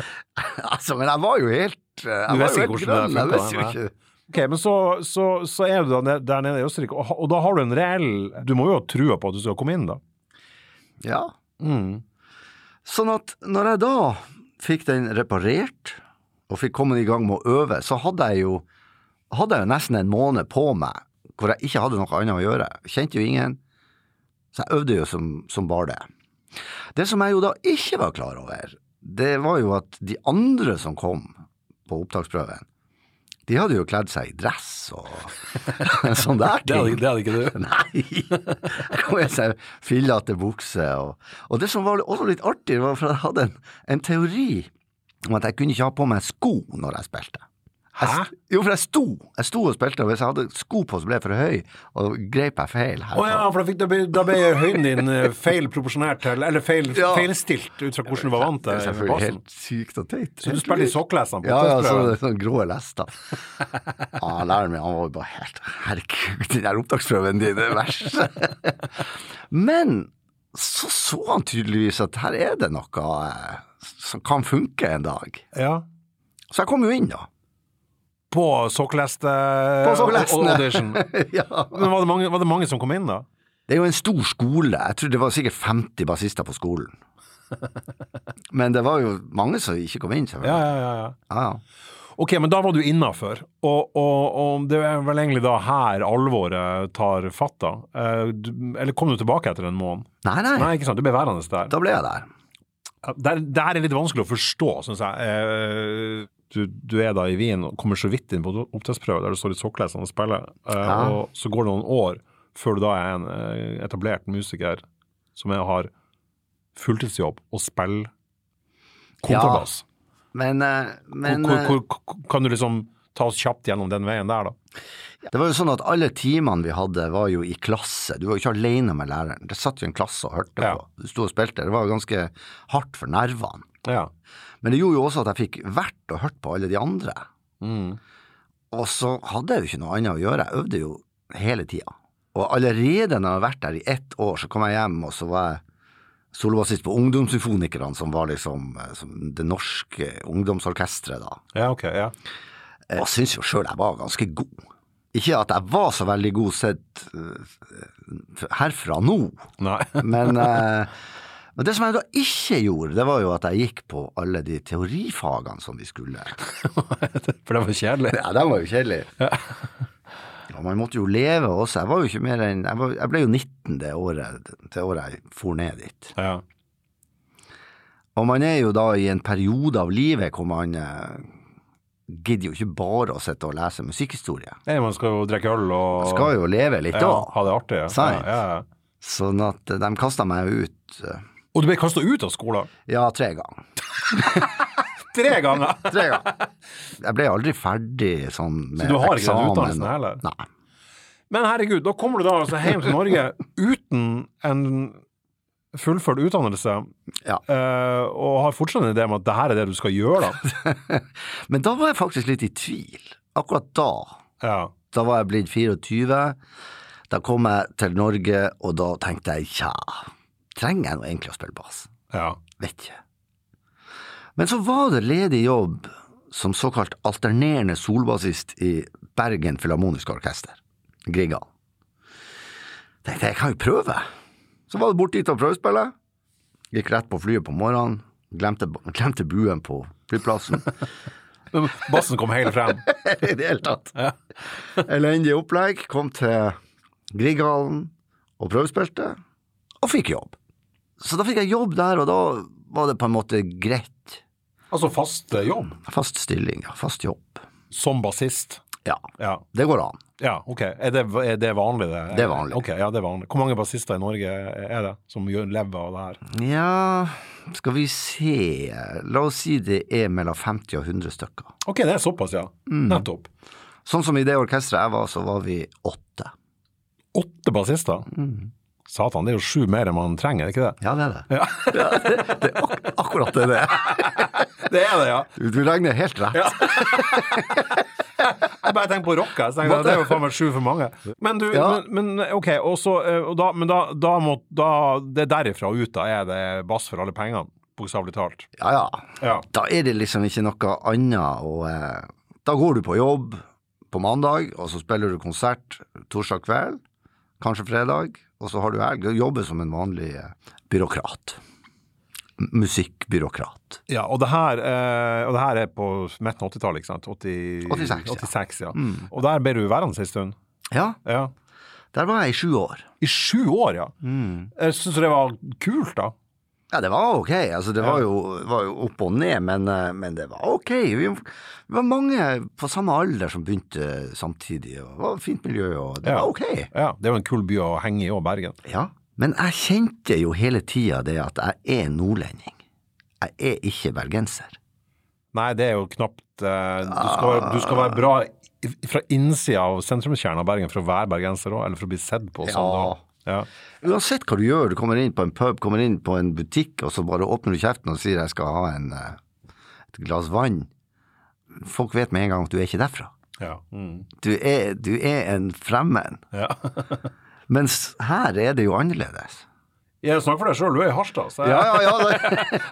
S2: altså, men jeg var jo helt eh, Jeg var
S1: visste
S2: jo
S1: ikke
S2: helt
S1: hvordan det
S2: grønn. Jeg
S1: funket,
S2: visste jo
S1: nei.
S2: ikke
S1: Ok, men så, så, så er du da ned- der nede i Østerrike, og, ha- og da har du en reell Du må jo ha trua på at du skal komme inn, da.
S2: Ja. Mm. Sånn at når jeg da fikk den reparert, og fikk kommet i gang med å øve, så hadde jeg jo, hadde jeg jo nesten en måned på meg hvor jeg ikke hadde noe annet å gjøre. Kjente jo ingen. Så jeg øvde jo som, som bare det. Det som jeg jo da ikke var klar over, det var jo at de andre som kom på opptaksprøven, de hadde jo kledd seg i dress og sånn der ting.
S1: ikke du.
S2: Nei! Jeg kom med seg fillete bukse. Og, og det som var også litt artig, var for jeg hadde en, en teori om at jeg kunne ikke ha på meg sko når jeg spilte. Jeg,
S1: Hæ?
S2: st- Jo, for jeg sto Jeg sto og spilte, og hvis jeg hadde sko på, så ble jeg for høy, og grep jeg feil. her
S1: Å ja, for da, fikk, da, ble, da ble høyden din eh, feil proporsjonert til, eller feil,
S2: Ja.
S1: feilstilt ut fra hvordan du var vant
S2: Det er
S1: til med
S2: selvfølgelig
S1: bassen.
S2: helt sykt og teit.
S1: Så du spilte i sokkelesene på
S2: Ja, ja, så
S1: opptaksprøven?
S2: det er sånne grå lester. Ja, læreren min han var jo bare helt Herregud, den der opptaksprøven din, det er verst. Men så så han tydeligvis at her er det noe eh, som kan funke en dag.
S1: Ja.
S2: Så jeg kom jo inn, da.
S1: På sokkeleste
S2: På sokkelestene.
S1: audition.
S2: ja.
S1: Men var det, mange, var det mange som kom inn, da?
S2: Det er jo en stor skole. Jeg tror det var sikkert 50 bassister på skolen. Men det var jo mange som ikke kom inn,
S1: Ja,
S2: selvfølgelig.
S1: ja, ja. ja.
S2: Ja, ja.
S1: Ok, men da var du innafor, og, og, og det er vel egentlig da her alvoret tar fatt, da. Eh, du- Eller kom du tilbake etter en måned?
S2: Nei, nei.
S1: Nei, ikke sant, du ble værende der.
S2: Da ble jeg der.
S1: Det her- det her er litt vanskelig å forstå, syns jeg. Eh, Du, du er da i Wien og kommer så vidt inn på opptaksprøve der du står i sokkelesene og spiller, eh,
S2: Ja.
S1: og så går det noen år før du da er en eh, etablert musiker som er, har fulltidsjobb og spiller kontrabass.
S2: Men, eh, men
S1: Hvor-
S2: eh,
S1: hvor, hvor, hvor, kan du liksom ta oss kjapt gjennom den veien der, da?
S2: Det var jo sånn at alle timene vi hadde var jo i klasse. Du var jo ikke alene med læreren. Det satt jo en klasse og hørte
S1: Ja.
S2: på. Du sto og spilte. Det var jo ganske hardt for nervene.
S1: Ja.
S2: Men det gjorde jo også at jeg fikk vært og hørt på alle de andre.
S1: Mm.
S2: Og så hadde jeg jo ikke noe annet å gjøre. Jeg øvde jo hele tida. Og allerede når jeg hadde vært der i ett år, så kom jeg hjem, og så var jeg solobassist på Ungdomssymfonikerne, som var liksom eh, som det norske ungdomsorkesteret da.
S1: ja, ok. Ja.
S2: Eh, Og syns jo sjøl jeg var ganske god. Ikke at jeg var så veldig god sett eh, herfra nå,
S1: Nei.
S2: men, eh, men det som jeg da ikke gjorde, det var jo at jeg gikk på alle de teorifagene som vi skulle.
S1: For det var kjedelig.
S2: Ja, de var jo kjedelige. Og man måtte jo leve også. Jeg var jo ikke mer enn Jeg, var, jeg ble jo 19 det året, det året jeg for ned dit.
S1: Ja.
S2: Og man er jo da i en periode av livet hvor man eh, gidder jo ikke bare å sitte og lese musikkhistorie.
S1: Nei, man skal jo drikke øl og
S2: Man skal jo leve litt
S1: ja,
S2: òg.
S1: ha det artig. Ja.
S2: Sant.
S1: Ja, ja.
S2: Sånn at de kasta meg ut eh,
S1: Og du ble kasta ut av skolen?
S2: ja, tre ganger.
S1: Tre ganger!
S2: Tre ganger. Jeg ble aldri ferdig sånn med
S1: Så du har ikke den
S2: eksamen.
S1: utdannelsen heller?
S2: Nei.
S1: Men herregud, da kommer du da altså hjem til Norge uten en fullført utdannelse,
S2: Ja.
S1: eh, og har fortsatt en idé om at det her er det du skal gjøre, da.
S2: Men da var jeg faktisk litt i tvil. Akkurat da.
S1: Ja.
S2: Da var jeg blitt 24. Da kom jeg til Norge, og da tenkte jeg tja, trenger jeg nå egentlig å spille bass?
S1: ja.
S2: Vet ikke. Men så var det ledig jobb som såkalt alternerende solbassist i Bergen Filharmoniske Orkester, Grieghallen. Tenkte jeg, jeg kan jo prøve. Så var det bort dit og prøvespille. Gikk rett på flyet på morgenen. Glemte, glemte buen på flyplassen.
S1: Bassen kom helt frem.
S2: I det hele tatt.
S1: Ja.
S2: Elendig opplegg. Kom til Grieghallen og prøvespilte, og fikk jobb. Så da fikk jeg jobb der, og da var det på en måte greit.
S1: Altså fast eh, jobb
S2: Fast stilling, ja. Fast jobb.
S1: som bassist.
S2: Ja,
S1: Ja.
S2: det går an.
S1: ja, ok. Er det, er det vanlig, det?
S2: Det er vanlig.
S1: Ok, ja, det er vanlig. Hvor mange bassister i Norge er det som gjør- lever av det her?
S2: Ja, skal vi se La oss si det er mellom 50 og 100 stykker.
S1: Ok, det er såpass, ja. Nettopp.
S2: Sånn som i det orkesteret jeg var, så var vi åtte.
S1: Åtte bassister? Satan, det er jo sju mer enn man trenger, er det ikke det?
S2: Ja, det er det. Ja, det, det er ak akkurat det det er.
S1: Det er det, ja.
S2: Du, du regner helt rett.
S1: Jeg bare tenker på rock, jeg. Så tenker jeg, det er jo faen meg sju for mange. Men du,
S2: Ja.
S1: men, men ok, og så eh, og da, Men da, da må da, Det er derifra og ut, da er det bass for alle pengene, bokstavelig talt.
S2: Ja, ja.
S1: Ja.
S2: Da er det liksom ikke noe annet å eh, Da går du på jobb på mandag, og så spiller du konsert torsdag kveld, kanskje fredag, og så har du helg. Du jobber som en vanlig eh, byråkrat. M- Musikkbyråkrat.
S1: Ja, og det her, eh, og det her er på midten av 80-tallet, ikke sant? 80,
S2: 86, ja.
S1: 86, ja. Mm. Og der ble du værende en stund.
S2: Ja,
S1: Ja.
S2: der var jeg i sju år.
S1: I sju år, ja.
S2: Mm.
S1: Jeg syns det var kult, da.
S2: Ja, det var ok. Altså, det var, jo, var jo opp og ned, men, eh, men det var ok. Vi, vi var mange på samme alder som begynte samtidig, og det var et fint miljø, og det
S1: Ja.
S2: var ok.
S1: Ja, Det er jo en kul by å henge i òg, Bergen.
S2: Ja. Men jeg kjente jo hele tida det at jeg er nordlending. Jeg er ikke bergenser.
S1: Nei, det er jo knapt eh, du, skal, være- du skal være bra i- fra innsida av sentrumskjernen av Bergen for å være bergenser òg, eller for å bli sett på som
S2: Ja.
S1: da. Ja.
S2: Uansett hva du gjør, du kommer inn på en pub, kommer inn på en butikk, og så bare åpner du kjeften og sier jeg skal ha en, eh, et glass vann. Folk vet med en gang at du er ikke derfra.
S1: Ja. Mm.
S2: Du er, du er en fremmed.
S1: ja.
S2: Mens her er det jo annerledes.
S1: Jeg snakker for deg sjøl, du er i Harstad. Så jeg,
S2: ja, ja.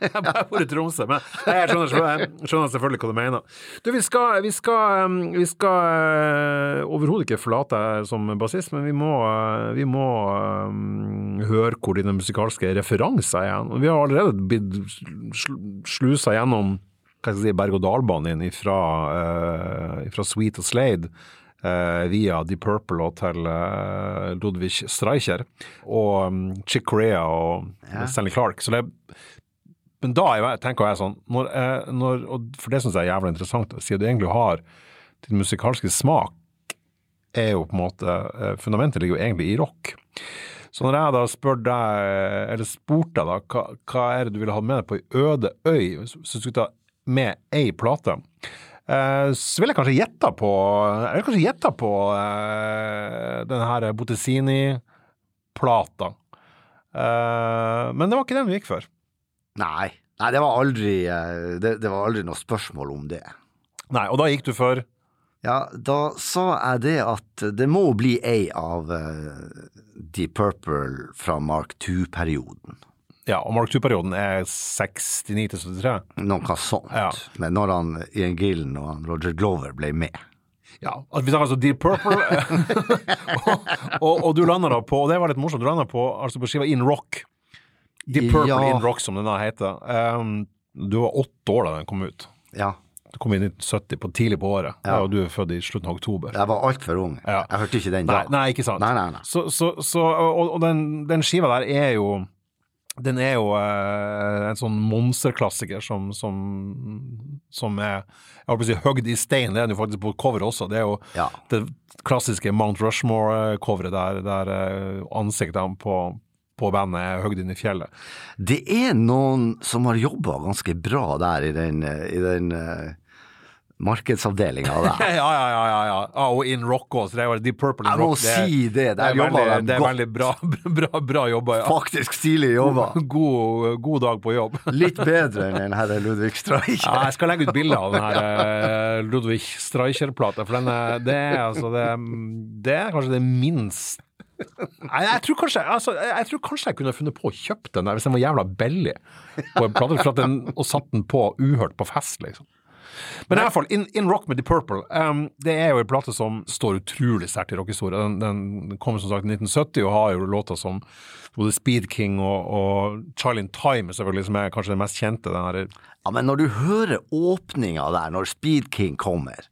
S1: Jeg har vært i Tromsø, men Nei, jeg skjønner, jeg skjønner selvfølgelig hva du mener. Du, vi skal, vi skal, um, vi skal eh, overhodet ikke forlate deg som bassist, men vi må, eh, vi må um, høre hvor dine musikalske referanser er. igjen. Vi har allerede blitt sl- slusa gjennom hva skal jeg si, berg-og-dal-banen din fra, Sweet og Slade. eh, via Deep Purple og til eh, Ludwig Streicher og um, Chick Corea og Stanley Clark. Så det er men da er jeg, tenker jeg sånn når, eh, når, og For det syns jeg er jævlig interessant, siden du egentlig har din musikalske smak er jo på en måte eh, Fundamentet ligger jo egentlig i rock. Så når jeg da spør deg, eller spurte deg da, hva, hva er det du ville hatt med deg på ei øde øy, hvis hvis du skulle ta med ei plate, eh, så ville jeg kanskje gjetta på Jeg ville kanskje gjetta på eh, den her Bottesini-plata. Eh, men det var ikke den du gikk for.
S2: Nei. Nei, det var aldri, eh, det, det var aldri noe spørsmål om det.
S1: Nei, og da gikk du for
S2: Ja, da sa jeg det at det må bli ei av eh, Deep Purple fra Mark II-perioden.
S1: Ja, og Mark II-perioden er 69 til 73.
S2: Noe sånt.
S1: Ja.
S2: Men når han Ian Gillen og han Roger Glover ble med.
S1: Ja, at Vi snakker altså Deep Purple, og, og, og du lander da på Og det var litt morsomt, du lander på, altså på skiva In Rock. Deep Purple
S2: Ja.
S1: In Rock, som den da heter. Um, du var åtte år da den kom ut.
S2: Ja,
S1: Du kom inn i 70, på tidlig på året. Ja. og du er født i slutten av oktober.
S2: jeg var altfor ung.
S1: Ja.
S2: Jeg hørte ikke den da.
S1: Nei, nei, ikke sant.
S2: Nei, nei, nei.
S1: Så, så, så, og og den, den skiva der er jo Den er jo eh, en sånn monsterklassiker som, som, som er Jeg holdt på å si hogd i stein, det er den jo faktisk på coveret også. Det er jo
S2: Ja.
S1: det klassiske Mount Rushmore-coveret der, der eh, ansiktene på, på bandet er hogd inn i fjellet.
S2: Det er noen som har jobba ganske bra der i den, eh, i den eh, markedsavdelinga der.
S1: Ja, ja, ja. ja, ja. Ah, og In Rock også, så det er jo Deep Purple
S2: Jeg
S1: in
S2: må
S1: Rock. er-
S2: si det, der
S1: det er
S2: jobber
S1: veldig,
S2: de
S1: det er
S2: godt.
S1: veldig bra, bra, bra jobba. Ja.
S2: Faktisk stilig jobba.
S1: God, god dag på jobb.
S2: Litt bedre enn den herre Ludvig Streich.
S1: Ja, jeg skal legge ut bilde av den her eh, Ludvig Streicher-plata, for den er, det, er altså, det, det er kanskje det minst Nei, jeg tror, kanskje, altså, jeg, jeg tror kanskje jeg kunne funnet på å kjøpe den der hvis den var jævla billig, på en plate, for at den, og satt den på uhørt på fest, liksom. Men i hvert fall, In, In Rock med The Purple ehm, det er jo en plate som står utrolig sterkt i rockehistoria. Den, den kom som sagt i 1970 og har jo låter som både Speed King og, og Child in Time, er selvfølgelig, som er kanskje den mest kjente. Den her,
S2: Ja, men når du hører åpninga der, når Speed King kommer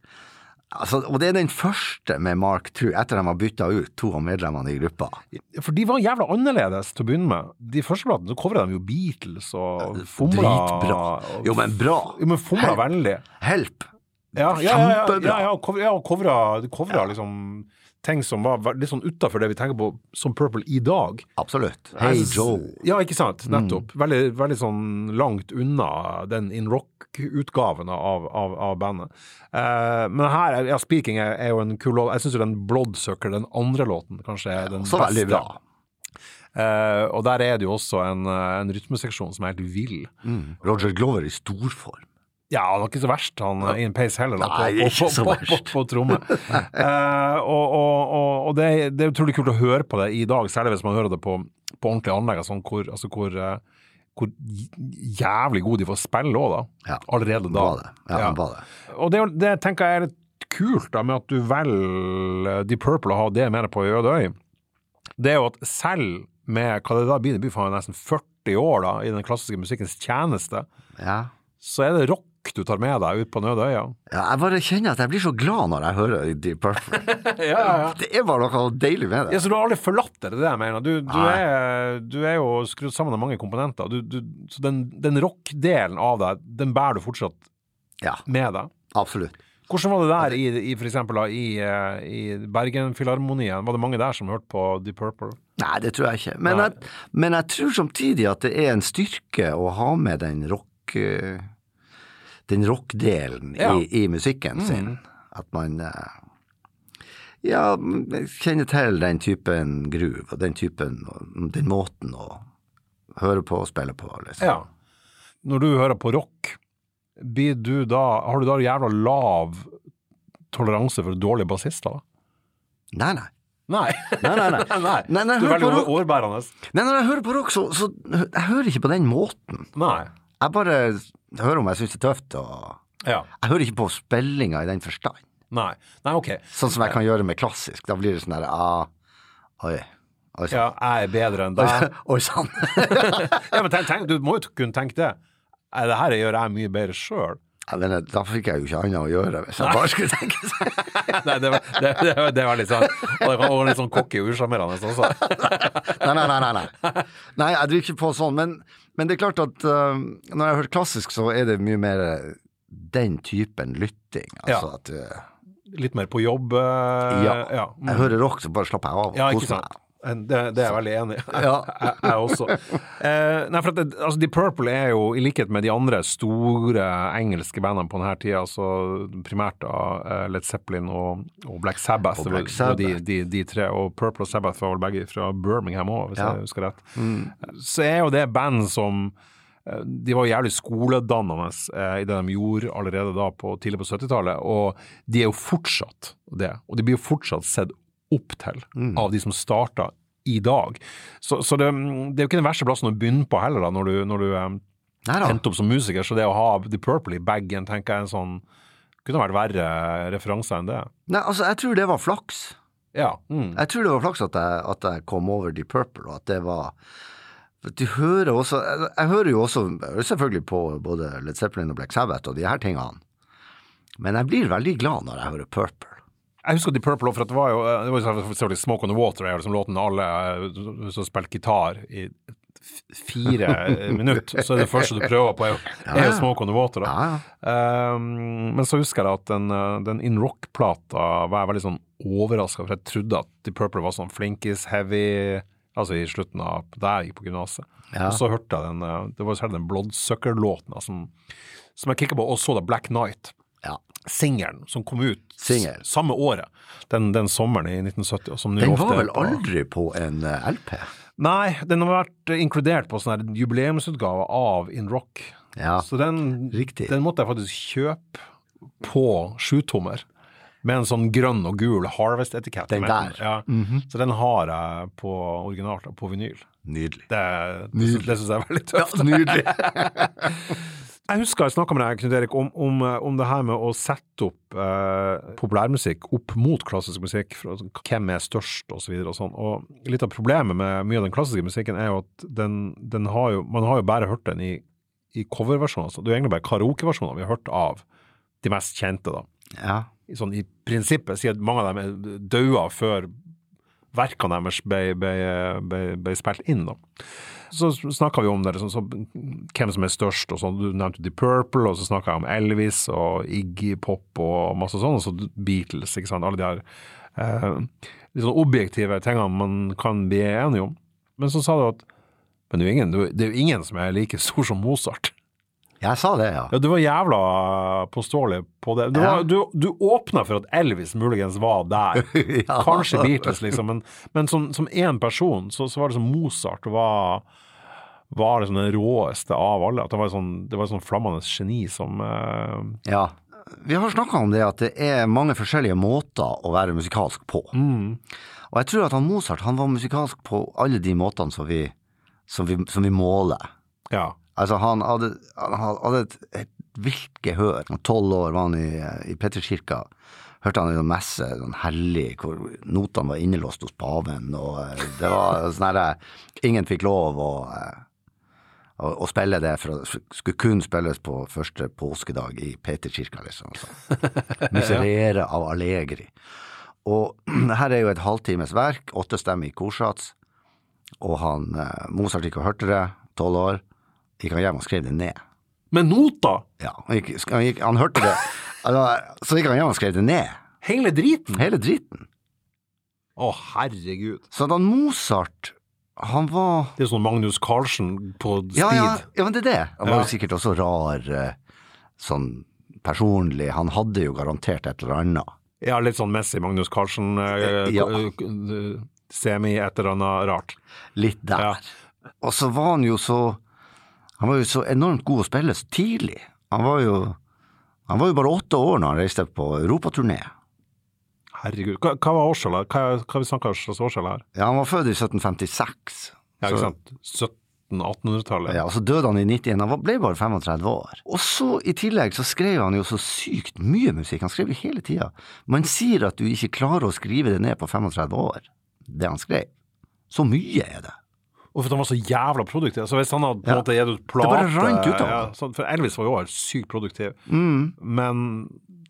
S2: altså, Og det er den første med Mark II, etter de har bytta ut to av medlemmene i gruppa.
S1: for de var jævla annerledes til å begynne med. De første platene så covra de jo Beatles og fomla
S2: Dritbra.
S1: og-
S2: Jo, men bra.
S1: Jo, men fomla vennlig.
S2: Help!
S1: Ja, ja, ja, ja,
S2: Kjempebra.
S1: ja, ja, cover- ja og covra, covra liksom ting som var ve- litt sånn utafor det vi tenker på som Purple i dag.
S2: Absolutt. Hey
S1: Jeg s-
S2: Joe. Mm.
S1: Ja, ikke sant. Nettopp. Veldig, veldig sånn langt unna den in rock-utgaven av, av, av bandet. Eh, men her, er- ja, Speaking er, er jo en kul låt. Jeg syns jo den Bloodsucker, den andre låten, kanskje er den
S2: Også
S1: beste.
S2: veldig bra.
S1: Eh, og der er det jo også en, eh, en rytmeseksjon som er helt vill.
S2: Mm. Roger Glover i storform.
S1: Ja, han var ikke så verst, han eh, Ian Pace heller, da,
S2: Nei,
S1: på, på,
S2: ikke så
S1: på, på,
S2: verst.
S1: på, på tromme. Eh, og og, og, og det, er- det er utrolig kult å høre på det i dag, særlig hvis man hører det på, på ordentlige anlegg, altså, hvor, altså, hvor, eh, hvor j- jævlig god de får spille òg, da.
S2: Ja,
S1: Allerede da.
S2: Var det. Ja,
S1: Ja.
S2: han var det.
S1: Og det, er jo- det tenker jeg er litt kult, da, med at du velger Deep Purple og har det mer på øde øy, det er jo at selv med hva det da blir, det blir faen nesten 40 år da, i den klassiske musikkens tjeneste,
S2: Ja.
S1: så er det rock du tar med deg ut på Nødøya.
S2: Ja, jeg bare kjenner at jeg blir så glad når jeg hører Deep Purple.
S1: Ja, ja,
S2: Det er bare noe deilig med det.
S1: så du har aldri forlatt det, det er det jeg mener. Du, du,
S2: Nei.
S1: er, du er jo skrudd sammen av mange komponenter. Du, du, så den, den rock-delen av deg, den bærer du fortsatt
S2: Ja,
S1: med deg. Hvordan
S2: absolutt.
S1: var det der i, i for eksempel da, i, eh, i Bergen-filharmonien? Var det mange der som hørte på Deep Purple?
S2: Nei, det tror jeg ikke. Men
S1: Nei.
S2: jeg, men jeg tror samtidig at det er en styrke å ha med den rock eh, den rockdelen
S1: Ja. Mm.
S2: i, i musikken sin. At man eh, ja, m- kjenner til den typen groove og den typen den måten å høre på og spille på. Liksom.
S1: Ja. Når du hører på rock, blir du da, har du da jævla lav toleranse for dårlige bassister? da?
S2: Nei, nei.
S1: Nei.
S2: Nei, nei, nei. Nei, nei,
S1: Du er
S2: hør på
S1: veldig
S2: rock.
S1: årbærende.
S2: nei, når jeg hører på rock, så, så hø- jeg hører ikke på den måten.
S1: Nei.
S2: Jeg bare hører om jeg syns det er tøft, og
S1: Ja.
S2: jeg hører ikke på spillinga i den forstand.
S1: Nei. Nei, ok.
S2: Sånn som jeg kan gjøre med klassisk. Da blir det sånn der ah, Oi. Oi sann.
S1: Ja, jeg er bedre enn deg.
S2: Oi sånn. sann.
S1: Ja, men tenk, tenk, du må jo kunne tenke det. Nei, det her gjør jeg mye bedre sjøl.
S2: Jeg mener, da fikk jeg jo ikke annet å gjøre hvis jeg bare skulle tenke sånn.
S1: Nei, det, var- det, det, var- det var litt sånn Og det var litt sånn cocky og usjarmerende også.
S2: Nei, nei, nei. Nei, nei. nei jeg driver ikke på sånn. Men, men det er klart at eh, når jeg hører klassisk, så er det mye mer eh, den typen lytting. Altså
S1: Ja.
S2: at eh,
S1: Litt mer på jobb. eh,
S2: Ja.
S1: Ja, mm.
S2: jeg hører rock, så bare slapper jeg av. og
S1: ja ikke
S2: koser meg.
S1: sant. En- Det, det er jeg veldig enig i.
S2: Ja.
S1: Jeg, jeg også. Eh, nei, for at det, altså, The Purple er jo, i likhet med de andre store engelske bandene på denne tida, altså primært av eh, Led Zeppelin og, og Black Sabbath,
S2: Og
S1: det
S2: Black
S1: var- det var
S2: Sabbath.
S1: De, de, de tre, og Purple og Sabbath var vel begge fra Birmingham òg, hvis jeg husker rett. Så er jo det band som eh, de var jævlig skoledannende eh, i det de gjorde allerede da på, tidlig på 70-tallet, og de er jo fortsatt det. Og de blir jo fortsatt sett opp til av de som starta i dag. Så, så det, det er jo ikke den verste plassen å begynne på heller, da, når du, når du eh,
S2: Nei da.
S1: endte opp som musiker. Så det å ha The Purple i bagen, tenker jeg er en sånn Kunne vært verre referanser enn det.
S2: Nei, altså, jeg tror det var flaks.
S1: Ja. Mm.
S2: Jeg tror det var flaks at jeg, at jeg kom over Deep Purple, og at det var for Du hører også Jeg, jeg hører jo også jeg hører selvfølgelig på både Led Zeppelin og Black Sabbath og de her tingene, men jeg blir veldig glad når jeg hører Purple.
S1: Jeg husker The Purple, for at det var jo eh, det var jo selvfølgelig Smoke on the Water er jo liksom låten alle eh, som spiller gitar i f- fire eh, minutter, så er det første du prøver på, er jo, er jo Smoke on the Water. da.
S2: Ja, ja.
S1: Um, men så husker jeg at den, eh, den In Rock-plata var jeg veldig sånn overraska, for jeg trodde at The Purple var sånn flinkis-heavy altså i slutten av da jeg gikk på gymnaset.
S2: Ja.
S1: Og så hørte jeg den eh, Det var særlig den Bloodsucker-låten da, som, som jeg kikka på, og så da Black Night.
S2: ja.
S1: Singelen som kom ut s-
S2: Singel.
S1: samme året, den, den sommeren i 1970. og Som nå
S2: Den
S1: ofte
S2: var
S1: er
S2: vel
S1: på-
S2: aldri på en eh, LP?
S1: Nei, den har vært inkludert på sånn her jubileumsutgave av In Rock.
S2: Ja.
S1: Så den,
S2: Riktig.
S1: den måtte jeg faktisk kjøpe på sjutommer. Med en sånn grønn og gul Harvest-etikett.
S2: Den
S1: med.
S2: der.
S1: Ja. Så den har jeg på originalt, på vinyl.
S2: Nydelig.
S1: Det, det, syns- det syns jeg er veldig tøft.
S2: Nydelig.
S1: Jeg husker jeg snakka med deg, Knut Erik, om, om, eh, om det her med å sette opp eh, populærmusikk opp mot klassisk musikk. For, altså, hvem er størst, og så videre og sånn. Og litt av problemet med mye av den klassiske musikken er jo at den, den har jo, man har jo bare hørt den i, i coverversjoner. Så det er jo egentlig bare karaokeversjoner vi har hørt av de mest kjente, da.
S2: Ja.
S1: I sånn i prinsippet, sier at mange av dem er daua før verkene deres ble, ble, ble, ble spilt inn. Da. Så snakka vi om det, liksom, så, hvem som er størst og sånn. Du nevnte The Purple, og så snakka jeg om Elvis og Iggy Pop og masse sånn, og så Beatles, ikke sant. Alle de her eh, litt sånn objektive tingene man kan bli enige om. Men så sa du at men det er, jo ingen, det er jo ingen som er like stor som Mozart.
S2: Jeg sa det, ja.
S1: Ja, Du var jævla påståelig på det. Du,
S2: Ja.
S1: var, du, du åpna for at Elvis muligens var der.
S2: Ja.
S1: Kanskje Beatles, liksom. Men, men som som én person så, så var det som Mozart var var liksom den råeste av alle. At det var et sånn, det var et sånn flammende geni som eh,
S2: Ja. Vi har snakka om det at det er mange forskjellige måter å være musikalsk på. Og jeg tror at han Mozart han var musikalsk på alle de måtene som vi, som vi, som vi måler.
S1: Ja.
S2: Altså, han hadde, han hadde et, et vilt gehør. Når tolv år var han i, i Petterskirka. Hørte han i noen messe, sånn hellig, hvor notene var innelåst hos paven, og eh, det var sånn herre Ingen fikk lov å, eh, å, å spille det, for det skulle kun spilles på første påskedag i Peterkirka, liksom. Så. Miserere av Allegri. Og det her er jo et halvtimes verk, åttestemmig korsats, og han eh, Mozart ikke hørte det, tolv år gikk han hjem og skrev det ned.
S1: Men nota!
S2: Ja, han, gikk, han, gikk, han hørte det, Altså, så gikk han hjem og skrev det ned.
S1: Hele driten!
S2: Hele driten.
S1: Å, herregud.
S2: Så at han Mozart, han var
S1: Det er sånn Magnus Carlsen på speed.
S2: ja, ja, ja, men det er det. Han var
S1: Ja.
S2: jo sikkert også rar eh, sånn personlig. Han hadde jo garantert et eller annet.
S1: Ja, litt sånn Messi, Magnus Carlsen, eh,
S2: Ja.
S1: eh, eh, semi, et eller annet rart.
S2: Litt der.
S1: Ja.
S2: Og så var han jo så Han var jo så enormt god å spille så tidlig. Han var jo, han var jo bare åtte år når han reiste på europaturné.
S1: Herregud. Hva, hva var årstallet? Hva, hva vi snakka slags årstall her?
S2: Ja, han var født i 1756.
S1: Ja,
S2: Så-
S1: ikke sant? 1700-1800-tallet.
S2: Ja, og så døde han i 91. Han var- ble bare 35 år. Og så i tillegg så skrev han jo så sykt mye musikk. Han skrev jo hele tida. Man sier at du ikke klarer å skrive det ned på 35 år, det han skrev. Så mye er det.
S1: Og for at han var så jævla produktiv. Så hvis han hadde på en
S2: Ja.
S1: måte gitt ut
S2: bare
S1: plate
S2: rant ut Mm. av
S1: ja,
S2: han.
S1: sånn, For Elvis var jo også sykt produktiv. Men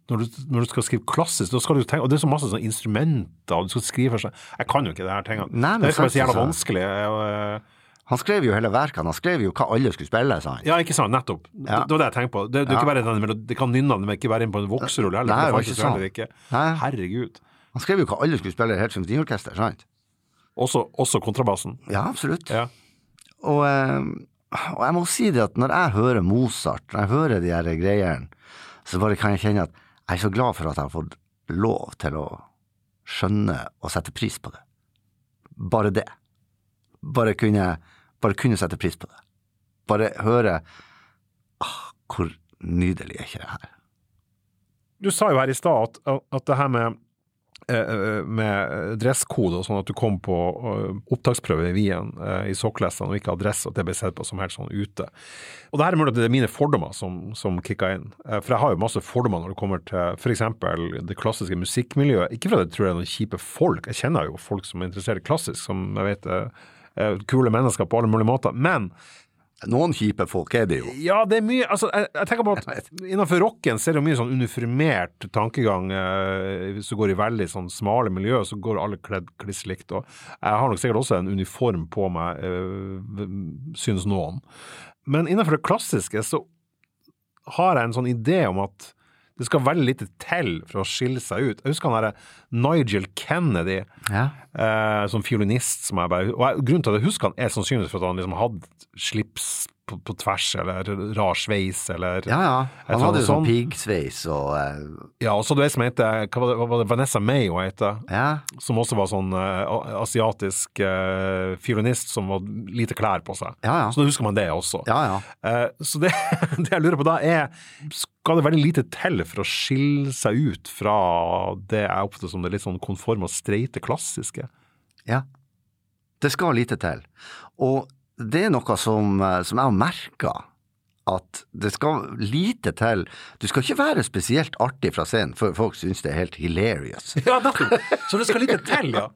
S1: når du, når du skal skrive klassisk, da skal du tenke Og det er så masse sånne instrumenter, og du skal skrive for seg Jeg kan jo ikke det her tingene.
S2: Nei, men
S1: det virker bare så
S2: sant,
S1: jævla
S2: altså.
S1: vanskelig. Jeg, eh,
S2: Han skrev jo hele verkene. Han skrev jo hva alle skulle spille, sa han.
S1: Ja, ikke sant, nettopp.
S2: Ja.
S1: Det, det var det jeg tenkte på. Det, det, er ikke bare den melo- det kan nynne, men ikke være inne på en vokserulle heller.
S2: Nei,
S1: for
S2: det var
S1: fantes jo
S2: ikke
S1: heller
S2: sant.
S1: ikke.
S2: Nei.
S1: Herregud.
S2: Han skrev jo hva alle skulle spille i helt symfoniorkester, sant?
S1: Også, også kontrabassen.
S2: Ja, absolutt.
S1: Ja.
S2: Og, eh, og jeg må si det at når jeg hører Mozart, når jeg hører de her greiene, så bare kan jeg kjenne at jeg er så glad for at jeg har fått lov til å skjønne og sette pris på det. Bare det. Bare kunne, bare kunne sette pris på det. Bare høre ah, Hvor nydelig er ikke det her?
S1: du sa jo her i stad at, at det her med, eh, med dresskode og sånn, at du kom på eh, opptaksprøve i Wien eh, i sokklestene og ikke hadde dress, at det ble sett på som helt sånn ute. Og det her er mulig at det er mine fordommer som, som kicka inn. Eh, For jeg har jo masse fordommer når det kommer til f.eks. det klassiske musikkmiljøet. Ikke fordi jeg tror det er noen kjipe folk, jeg kjenner jo folk som er interessert i klassisk, som jeg vet er er kule mennesker på alle mulige måter. Men
S2: Noen kjipe folk er det jo.
S1: ja, det er mye altså, jeg, jeg tenker på at Innenfor rocken så er det jo mye sånn uniformert tankegang. Eh, hvis du går i veldig sånn smale miljø, så går alle kledd kliss likt. Og jeg har nok sikkert også en uniform på meg, eh, synes noen. Men innenfor det klassiske så har jeg en sånn idé om at det skal veldig lite til for å skille seg ut. Jeg husker han derre Nigel Kennedy.
S2: Ja.
S1: Eh, som fiolinist som jeg bare Og jeg, grunnen til at jeg husker han, er sannsynligvis for at han liksom hadde slips på, på tvers, eller rar sveis, eller
S2: ja, ja.
S1: Jeg tror
S2: Han hadde
S1: det
S2: jo
S1: var
S2: sånn
S1: sånn.
S2: piggsveis og eh,
S1: Ja, og så du ei som heter hva var, det, hva var det Vanessa May, hun heter,
S2: Ja.
S1: som også var sånn eh, a- asiatisk eh, fiolinist som hadde lite klær på seg.
S2: Ja, ja.
S1: Så da husker man det også.
S2: ja, ja.
S1: Eh, så det, det jeg lurer på da, er skal det veldig lite til for å skille seg ut fra det jeg oppfatter som det litt sånn konforme og streite klassiske?
S2: Ja. Det skal lite til. Og det er noe som, eh, som jeg har merka at det skal lite til Du skal ikke være spesielt artig fra scenen før folk syns det er helt hilarious.
S1: Ja, nettopp! Så det skal lite til, ja.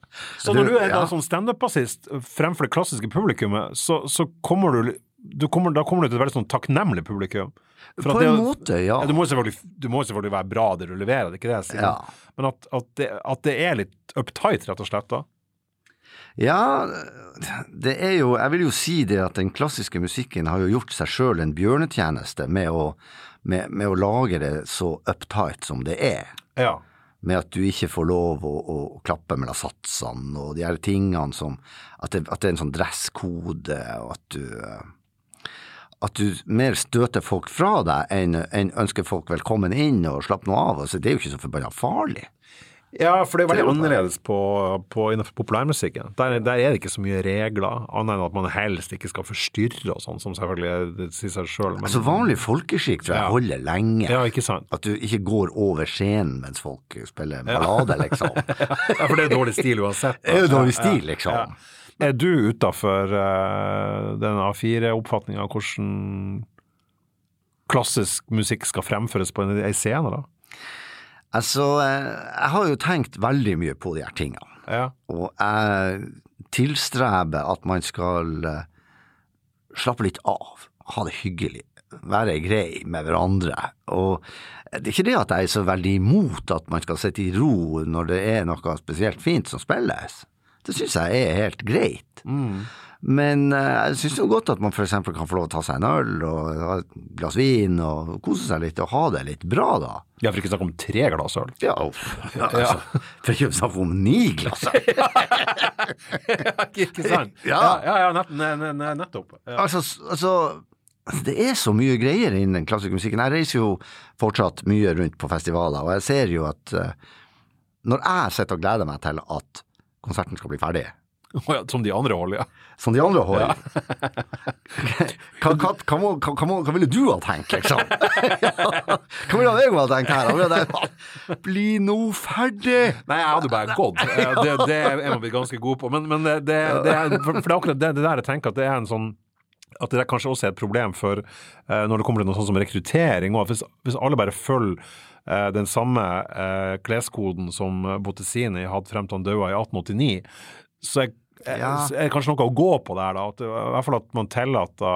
S1: Så når
S2: Du-
S1: du er da
S2: ja.
S1: som standup-bassist fremfor det klassiske publikummet, så, så kommer du, du kommer, Da kommer du til et veldig sånn takknemlig publikum. For at
S2: På en
S1: det-
S2: måte, ja.
S1: Du må jo selvfølgelig, du må jo selvfølgelig være bra det du leverer, det er ikke det jeg sier.
S2: Ja.
S1: Men at, at, det, at det er litt uptight, rett og slett, da.
S2: Ja, det er jo Jeg vil jo si det at den klassiske musikken har jo gjort seg sjøl en bjørnetjeneste med å, med, med å lage det så uptight som det er.
S1: Ja.
S2: Med at du ikke får lov å, å klappe mellom satsene og de her tingene som At det, at det er en sånn dresskode, og at du eh, At du mer støter folk fra deg enn enn ønsker folk velkommen inn og slapp nå av. Altså, det er jo ikke så forbanna farlig.
S1: Ja, for det er jo veldig
S2: Det er
S1: annerledes på, på, innenfor populærmusikken. Der, der er det ikke så mye regler, annet enn at man helst ikke skal forstyrre og sånn, som selvfølgelig er- det sier seg sjøl.
S2: Altså, vanlig folkeskikk tror jeg
S1: Ja.
S2: holder lenge.
S1: Ja, ikke sant.
S2: At du ikke går over scenen mens folk spiller ballade, liksom.
S1: Ja, for det er dårlig stil uansett.
S2: Det er jo dårlig stil, liksom.
S1: Er du utafor uh, den A4-oppfatninga av hvordan klassisk musikk skal fremføres på en, en scene, da?
S2: Altså, eh, jeg har jo tenkt veldig mye på de her tingene.
S1: Ja.
S2: Og jeg tilstreber at man skal eh, slappe litt av, ha det hyggelig, være grei med hverandre. Og det er ikke det at jeg er så veldig imot at man skal sitte i ro når det er noe spesielt fint som spilles. Det syns jeg er helt greit. Men eh, jeg syns jo godt at man f.eks. kan få lov å ta seg en øl og ha et glass vin og kose seg litt og ha det litt bra, da.
S1: Ja, for ikke snakk om tre glass øl.
S2: Ja, uff. Ja, altså, for ikke å snakke om ni glass.
S1: ikke sant?
S2: Ja.
S1: ja, ja, nett, ne, ne, ne, nettopp. Ja.
S2: Altså, s- altså det er så mye greier innen den klassiske musikken. Jeg reiser jo fortsatt mye rundt på festivaler, og jeg ser jo at eh, når jeg sitter og gleder meg til at konserten skal bli ferdig,
S1: Å ja, Som de andre holder, ja.
S2: som de andre holder hva, hva, hva, må, hva, hva, må, hva ville du ha tenkt, liksom? hva ville jeg ha tenkt her? Jeg ville tenkt, Bli nå ferdig!
S1: Nei, jeg hadde bare gått. Eh, Det, det er man blitt ganske god på. Men, men det, det, det er, for for det er akkurat det, det der jeg tenker at det er en sånn at det der kanskje også er et problem for eh, når det kommer til noe sånt som rekruttering. Og at hvis, hvis alle bare følger eh, den samme eh, kleskoden som eh, Bottesini hadde frem til han døde i 1889, så er, er-
S2: Ja.
S1: så er det kanskje noe å gå på der. da, at, det- I hvert fall at man tillater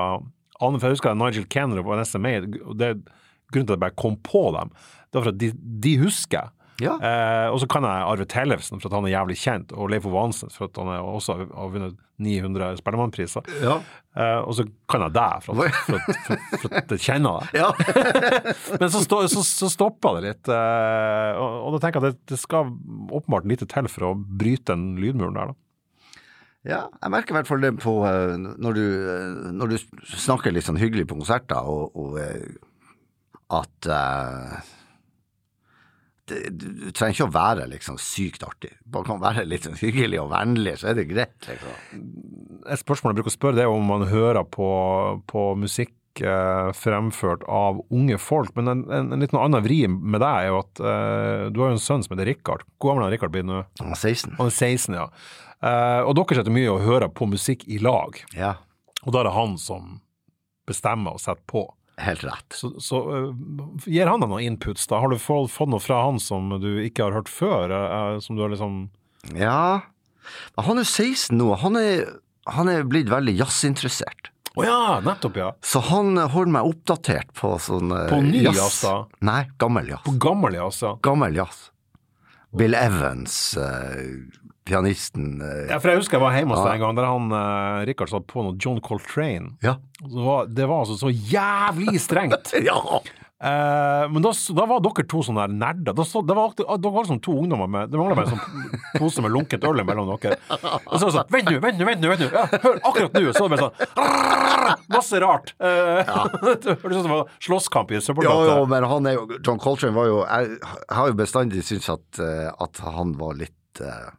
S1: Anne, for jeg husker at Nigel Kenner og NSMA, og det er grunnen til at jeg bare kom på dem, det var for at de, de husker.
S2: Ja.
S1: Eh, og så kan jeg Arve Tellefsen for at han er jævlig kjent, og Leif Ove Hansen for at han er også har vunnet 900 Spellemannpriser.
S2: Ja.
S1: Eh, og så kan jeg deg for at, for, at- for, for at jeg kjenner deg.
S2: Ja.
S1: Men så, stå, så, så stoppa det litt. Eh, og, og da tenker jeg at det, det skal åpenbart lite til for å bryte den lydmuren der, da.
S2: Ja, jeg merker i hvert fall det på eh, når du, eh, når du snakker litt sånn hyggelig på konserter, og, og eh, at eh, det, du, du trenger ikke å være liksom sykt artig. Bare kan være litt sånn hyggelig og vennlig, så er det greit. Liksom.
S1: Et spørsmål jeg bruker å spørre, det er om man hører på, på musikk eh, fremført av unge folk. Men en, en, en litt noe annen vri med deg er jo at eh, du har jo en sønn som heter Rikard. Hvor gammel er Rikard blitt nå?
S2: Han er 16.
S1: Han er 16, ja. Eh, og dere sitter mye og hører på musikk i lag,
S2: Ja,
S1: og da er det han som bestemmer og setter på.
S2: helt rett.
S1: Så, så eh, gir han deg noen inputs, da? Har du få- fått noe fra han som du ikke har hørt før? eh, som du har liksom
S2: Ja, Men han er 16 nå, og han er, han er blitt veldig jazzinteressert.
S1: Å ja, nettopp, ja!
S2: Så han eh, holder meg oppdatert på sånn eh,
S1: På ny
S2: jazz.
S1: jazz, da?
S2: Nei, gammel jazz.
S1: På gammel, ja, altså.
S2: gammel jazz. Bill Evans, eh, pianisten eh,
S1: Ja, for jeg husker jeg var hjemme hos
S2: Ja.
S1: deg en gang der han eh, Rikard satt på noe John Coltrane.
S2: Ja.
S1: Og Det var, det var altså så jævlig strengt!
S2: ja.
S1: Eh, men da, s- da var dere to sånne der nerder. Da, så, det var, aktu- dere var som to ungdommer med Det mangla bare en sånn pose med lunkent øl mellom dere. Og så var det sånn Vent nå, vent nå, vent nå! vent nå. Ja, hør, akkurat nå! Så var det bare sånn «Rrrr», Masse rart. Eh, det hørtes ut som det var slåsskamp i en
S2: Jo, jo,
S1: søppelgate.
S2: men han er jo John Coltrane var jo Jeg har jo bestandig syntes at, eh, at han var litt eh,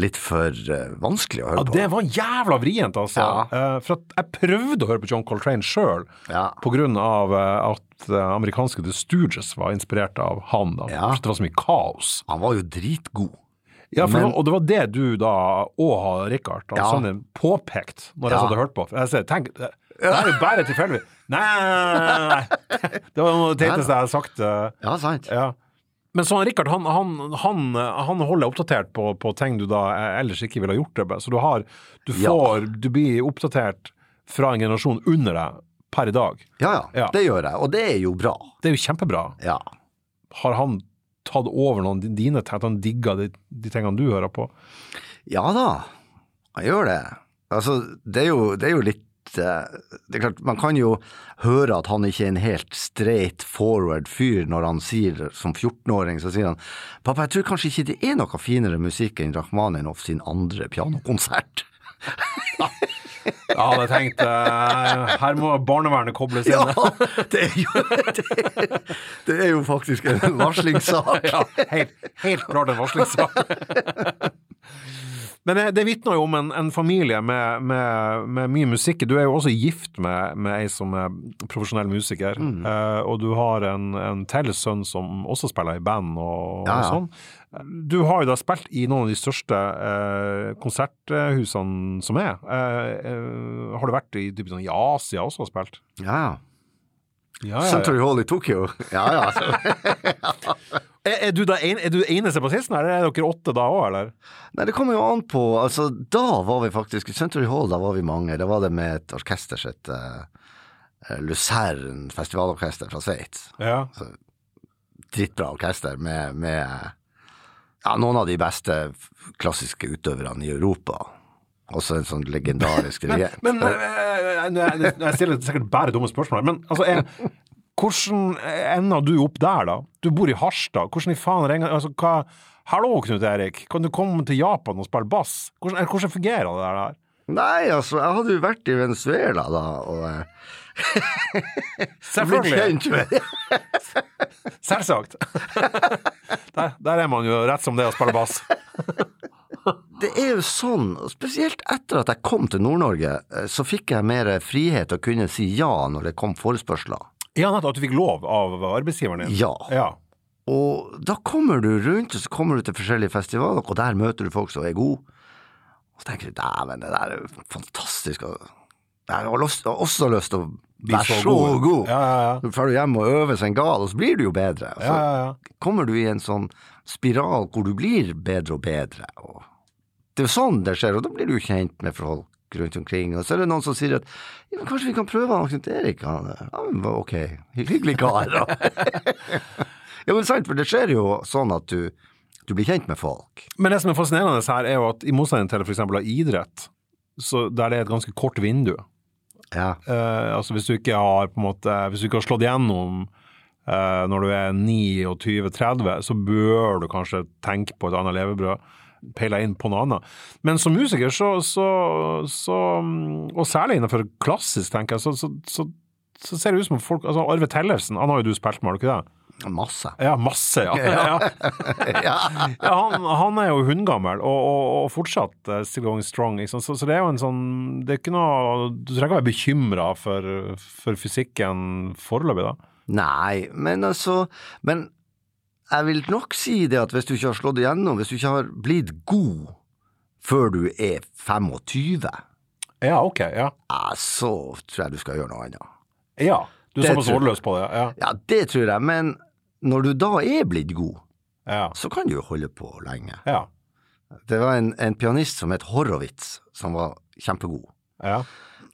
S2: Litt for eh, vanskelig å høre
S1: Ja,
S2: på.
S1: det var jævla vrient, altså. Eh, for at jeg prøvde å høre på John Coltrane sjøl,
S2: Ja.
S1: på grunn av eh, at eh, amerikanske The Stooges var inspirert av han. da
S2: Ja.
S1: For Det var så mye kaos.
S2: Han var jo dritgod.
S1: Ja, for det
S2: Men-
S1: var, og det var det du da, og Rikard,
S2: Ja.
S1: altså ja. påpekte sånn når jeg
S2: Ja.
S1: satt og hørte på. For Jeg sier, tenk,
S3: Det er jo bare tilfeldig. Nei, nei, nei, nei. Det var noe av det teiteste jeg har sagt. eh,
S2: Ja, sant.
S3: Ja.
S1: Men så han Richard, han, han, han, han holder deg oppdatert på, på ting du da ellers ikke ville ha gjort det med. Så du har Du
S2: Ja.
S1: får Du blir oppdatert fra en generasjon under deg per i dag.
S2: Ja, ja.
S1: Ja.
S2: Det gjør jeg, og det er jo bra.
S1: Det er jo kjempebra.
S2: Ja.
S1: Har han tatt over noen av dine ting? At han digger de, de tingene du hører på?
S2: Ja da, jeg gjør det. Altså, det er jo, det er jo litt eh, det er klart, Man kan jo høre at han ikke er en helt straight forward fyr når han sier, som 14-åring, så sier han 'Pappa, jeg tror kanskje ikke det er noe finere musikk enn Rakhmaninov sin andre pianokonsert'.
S3: Jeg hadde tenkt eh, her må barnevernet kobles inn.
S2: Ja, det er jo, det, det er jo faktisk en varslingssak.
S3: Ja, helt, helt klart en varslingssak.
S1: Men eh, det, det vitner jo om en, en familie med, med, med mye musikk. Du er jo også gift med, med ei som er profesjonell musiker,
S2: Mm.
S1: eh, og du har en, en til sønn som også spiller i band og,
S2: Ja, ja.
S1: og sånn. Du har jo da spilt i noen av de største eh, konserthusene som er. Eh, eh, har du vært i, typ, sånn, i Asia også og spilt?
S2: Ja,
S1: Ja,
S2: Century Hall i Tokyo. Ja, ja. altså.
S1: Er, er du da en, er du eneste bassisten, eller er dere åtte da òg, eller?
S2: Nei, det kommer jo an på Altså, da var vi faktisk I Century Hall, da var vi mange. Da var det med et orkester sitt eh, eh, Luzern festivalorkester fra Sveits.
S1: Ja.
S2: Drittbra orkester med, med eh, ja, noen av de beste f- klassiske utøverne i Europa. Også en sånn legendarisk
S1: Men,
S2: regent.
S1: men eh, eh, jeg, jeg stiller sikkert bare dumme spørsmål, her, men altså eh, Hvordan ender du opp der, da? Du bor i Harstad. Hvordan i faen ringer altså, hva, Hallo, Knut Erik, kan du komme til Japan og spille bass? Hvordan, eh, hvordan fungerer det der? her?
S2: Nei, altså, jeg hadde jo vært i Venezuela da, og eh, blitt kjent med
S1: Selvsagt. Der, der er man jo rett som det å spille bass.
S2: Det er jo sånn, og spesielt etter at jeg kom til Nord-Norge, eh, så fikk jeg mer frihet å kunne si ja når det kom forespørsler.
S1: Ja, nettopp. At du fikk lov av arbeidsgiveren din.
S2: Ja.
S1: ja.
S2: Og da kommer du rundt, og så kommer du til forskjellige festivaler, og der møter du folk som er gode. Og så tenker du dæven, det der er jo fantastisk. og Jeg har, lyst, jeg har også lyst til å være så, god.
S1: Ja, ja, ja.
S2: Så drar du hjem og øver seg en gal, og så blir du jo bedre. altså. Og så
S1: ja, ja, ja.
S2: kommer du i en sånn spiral hvor du blir bedre og bedre. Og det er jo sånn det skjer, og da blir du jo kjent med folk rundt omkring. Og så er det noen som sier at ja, men kanskje vi kan prøve han Knut Erik. Han er ja, men ok, hyggelig kar. da.» ja, men sant, for det skjer jo sånn at du, du blir kjent med folk.
S1: Men det som er fascinerende her, er jo at i motsetning til f.eks. idrett, så der det er et ganske kort vindu
S2: Ja,
S1: eh, Altså hvis du ikke har på en måte Hvis du ikke har slått gjennom eh, når du er 29-30, så bør du kanskje tenke på et annet levebrød. Peile inn på noe annet. Men som musiker, så, så, så Og særlig innenfor klassisk, tenker jeg, så, så, så, så ser det ut som om folk altså Arve Tellefsen, han har jo du spilt med, har du ikke det?
S2: masse.
S1: Ja, masse, ja. ja.
S2: ja.
S1: Ja, han, han er jo hundgammel, og, og, og fortsatt eh, still going strong. Ikke sant? Så, så det er jo en sånn Det er ikke noe Du trenger ikke å være bekymra for, for fysikken foreløpig, da.
S2: Nei, men altså Men jeg vil nok si det at hvis du ikke har slått igjennom, hvis du ikke har blitt god før du er 25
S1: Ja, ok. Ja.
S2: ja, så tror jeg du skal gjøre noe annet.
S1: ja. Du er
S2: Det
S1: såpass
S2: tror jeg.
S1: hårløs på det? Ja.
S2: Ja, det tror jeg, men når du da er blitt god,
S1: ja.
S2: så kan du jo holde på lenge.
S1: ja.
S2: Det var en, en pianist som het Horowitz, som var kjempegod.
S1: ja.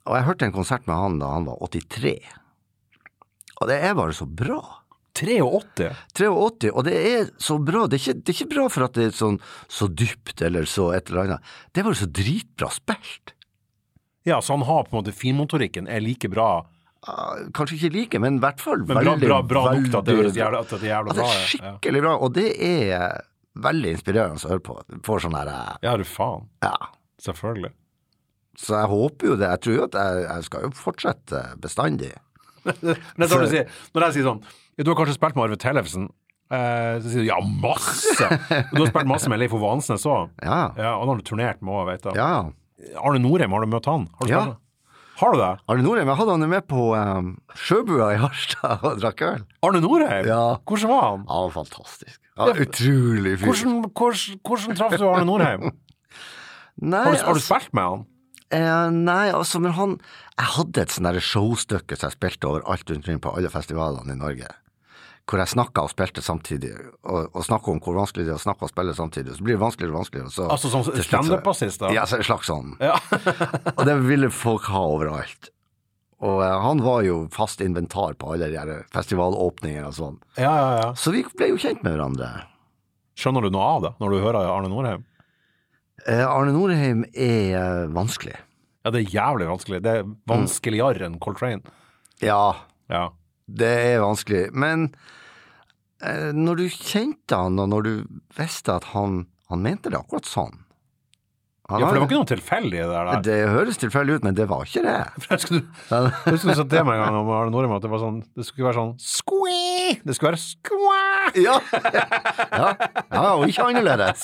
S2: Og jeg hørte en konsert med han da han var 83. Og det er bare så bra.
S1: 83?
S2: 83, og det er så bra. Det er ikke, det er ikke bra for at det er sånn så dypt eller så et eller annet. Det er bare så dritbra spilt.
S1: Ja, så han har på en måte finmotorikken er like bra,
S2: Ah, Kanskje ikke like, men i hvert fall
S1: men bra,
S2: veldig,
S1: bra, bra nok til at det
S2: veldig
S1: høres jævla, at det er jævla
S2: Ja, det
S1: bra ut. Ja.
S2: er Altså, skikkelig bra, og det er veldig inspirerende å høre på. Du Får sånn her eh,
S1: ja, du faen.
S2: Ja.
S1: Selvfølgelig.
S2: Så jeg håper jo det. Jeg tror jo at jeg, jeg skal jo fortsette bestandig.
S1: Men det er sånn du sier, når jeg sier sånn ja, Du har kanskje spilt med Arve Tellefsen? Eh, så sier du ja, masse! Og du har spilt masse med Leif Ove Hansnes òg.
S2: Ja.
S1: Ja, og han har du turnert med òg, vet jeg.
S2: ja.
S1: Arne Norheim, har du møtt han? Har du
S2: Ja.
S1: spilt med han? Har du det?
S2: Arne Norheim, jeg hadde han jo med på um, Sjøbua i Harstad og drakk øl.
S1: Arne Norheim?
S2: Ja.
S1: Hvordan var han?
S2: Han var fantastisk. Ja, utrolig fyr.
S1: Hvordan, hvordan, hvordan traff du Arne Norheim?
S2: Nei,
S1: Har du, har du
S2: altså,
S1: spilt med han?
S2: Eh, nei, altså, men han Jeg hadde et sånn derre showstykke som jeg spilte overalt rundt omkring på alle festivalene i Norge. Hvor jeg snakka og spilte samtidig, og, og snakka om hvor vanskelig det er å snakke og spille samtidig. Så blir det vanskeligere og vanskeligere. Og så,
S3: Altså som
S2: til slutt så-
S3: standup-bassist, da?
S2: Ja, så en slags sånn.
S3: Ja.
S2: Og det ville folk ha overalt. Og eh, han var jo fast inventar på alle de her festivalåpningene og sånn.
S3: ja, ja, ja.
S2: Så vi ble jo kjent med hverandre.
S1: Skjønner du noe av det når du hører Arne Norheim?
S2: Eh, Arne Norheim er eh, vanskelig.
S1: Ja, det er jævlig vanskelig. Det
S2: Mm.
S1: er vanskeligere enn Coltrane.
S2: Ja,
S1: Ja.
S2: det er vanskelig. Men eh, når du kjente han, og når du visste at han, han mente det akkurat sånn Han
S1: ja, for det var
S2: har-
S1: ikke noe tilfeldig, det der.
S2: det høres tilfeldig ut, men det var ikke det.
S1: Jeg Husker du, jeg husker du sa til meg en gang om Arne Norheim at det, var sånn, det skulle ikke være sånn skui, det skulle være skua!
S2: Ja, ja. ja og ikke annerledes.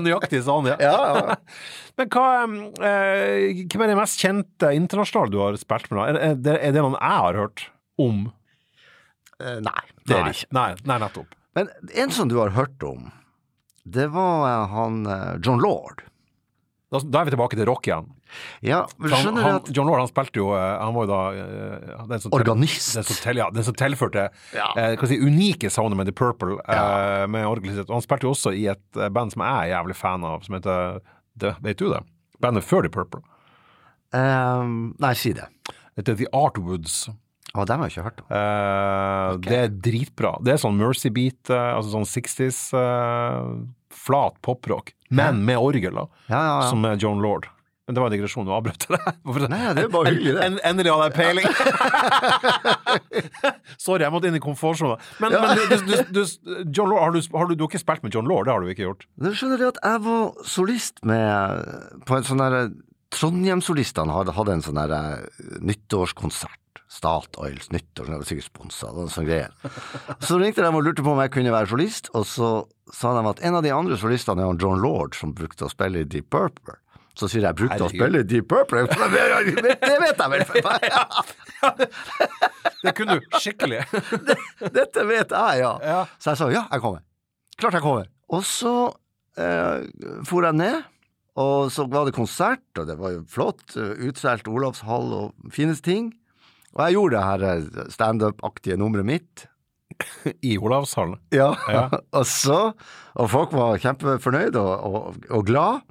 S1: Nøyaktig sa han det.
S2: Ja, ja.
S1: Men hva, eh, hvem er de mest kjente internasjonale du har spilt med? da? Er, er, det, er det noen jeg har hørt om?
S2: Eh, Nei, det
S1: Nei,
S2: er det ikke.
S1: Nei, nei nettopp.
S2: Men en som du har hørt om, det var eh, han eh, John Lord.
S1: Da, da er vi tilbake til rock igjen.
S2: Ja, men
S1: For Han,
S2: skjønner
S1: han,
S2: du at
S1: John Lord han spilte jo eh, Han var jo da eh, den som tel-
S2: Organist.
S1: Den som, tel, ja, den som tilførte
S2: Ja.
S1: eh, hva skal jeg si, unike soundet med The Purple. eh, med orgelet sitt. Og han spilte jo også i et eh, band som jeg er jævlig fan av, som heter det, Vet du det? Bandet før The Purple.
S2: Ehm, Nei, si det.
S1: Det heter The Artwoods.
S2: Å, dem har jeg ikke hørt om.
S1: Eh, Det er dritbra. Det er sånn Mercy Beat, eh, altså sånn 60s eh, flat poprock, men med orgel, da.
S2: Ja, ja, ja.
S1: Som er John Lord. Men det var en digresjon, du avbrøt det. Hvorfor-
S2: Nei, det er bare hyggelig, det.
S1: En, endelig hadde jeg peiling! Sorry, jeg måtte inn i komfortsonen. Men, men du, du, du, du, John Lord, har, du, har du, du har ikke spilt med John Lord? Det har du ikke gjort?
S2: Men skjønner du at jeg var solist med På en sånn derre Trondheim-solistene hadde, hadde en sånn derre nyttårskonsert. Statoils nyttår, det var sikkert sponsa, det var en sånn greie. Så ringte de og lurte på om jeg kunne være solist, og så sa de at en av de andre solistene er han John Lord, som brukte å spille i Deep Purple. Så sier jeg jeg brukte å
S1: Herregud.
S2: spille i Deep Purple, det vet jeg vel! for faen.
S1: Det kunne du skikkelig.
S2: Dette vet jeg, ja.
S1: Ja.
S2: Så jeg sa ja, jeg kommer. Klart jeg kommer. Og så eh, for jeg ned, og så var det konsert, og det var jo flott. eh, Utsolgt Olavshall og fine ting. Og jeg gjorde det her eh, standup-aktige nummeret mitt.
S1: I Olavshallen.
S2: Ja.
S1: Ja.
S2: og så Og folk var kjempefornøyd og, og, og glad.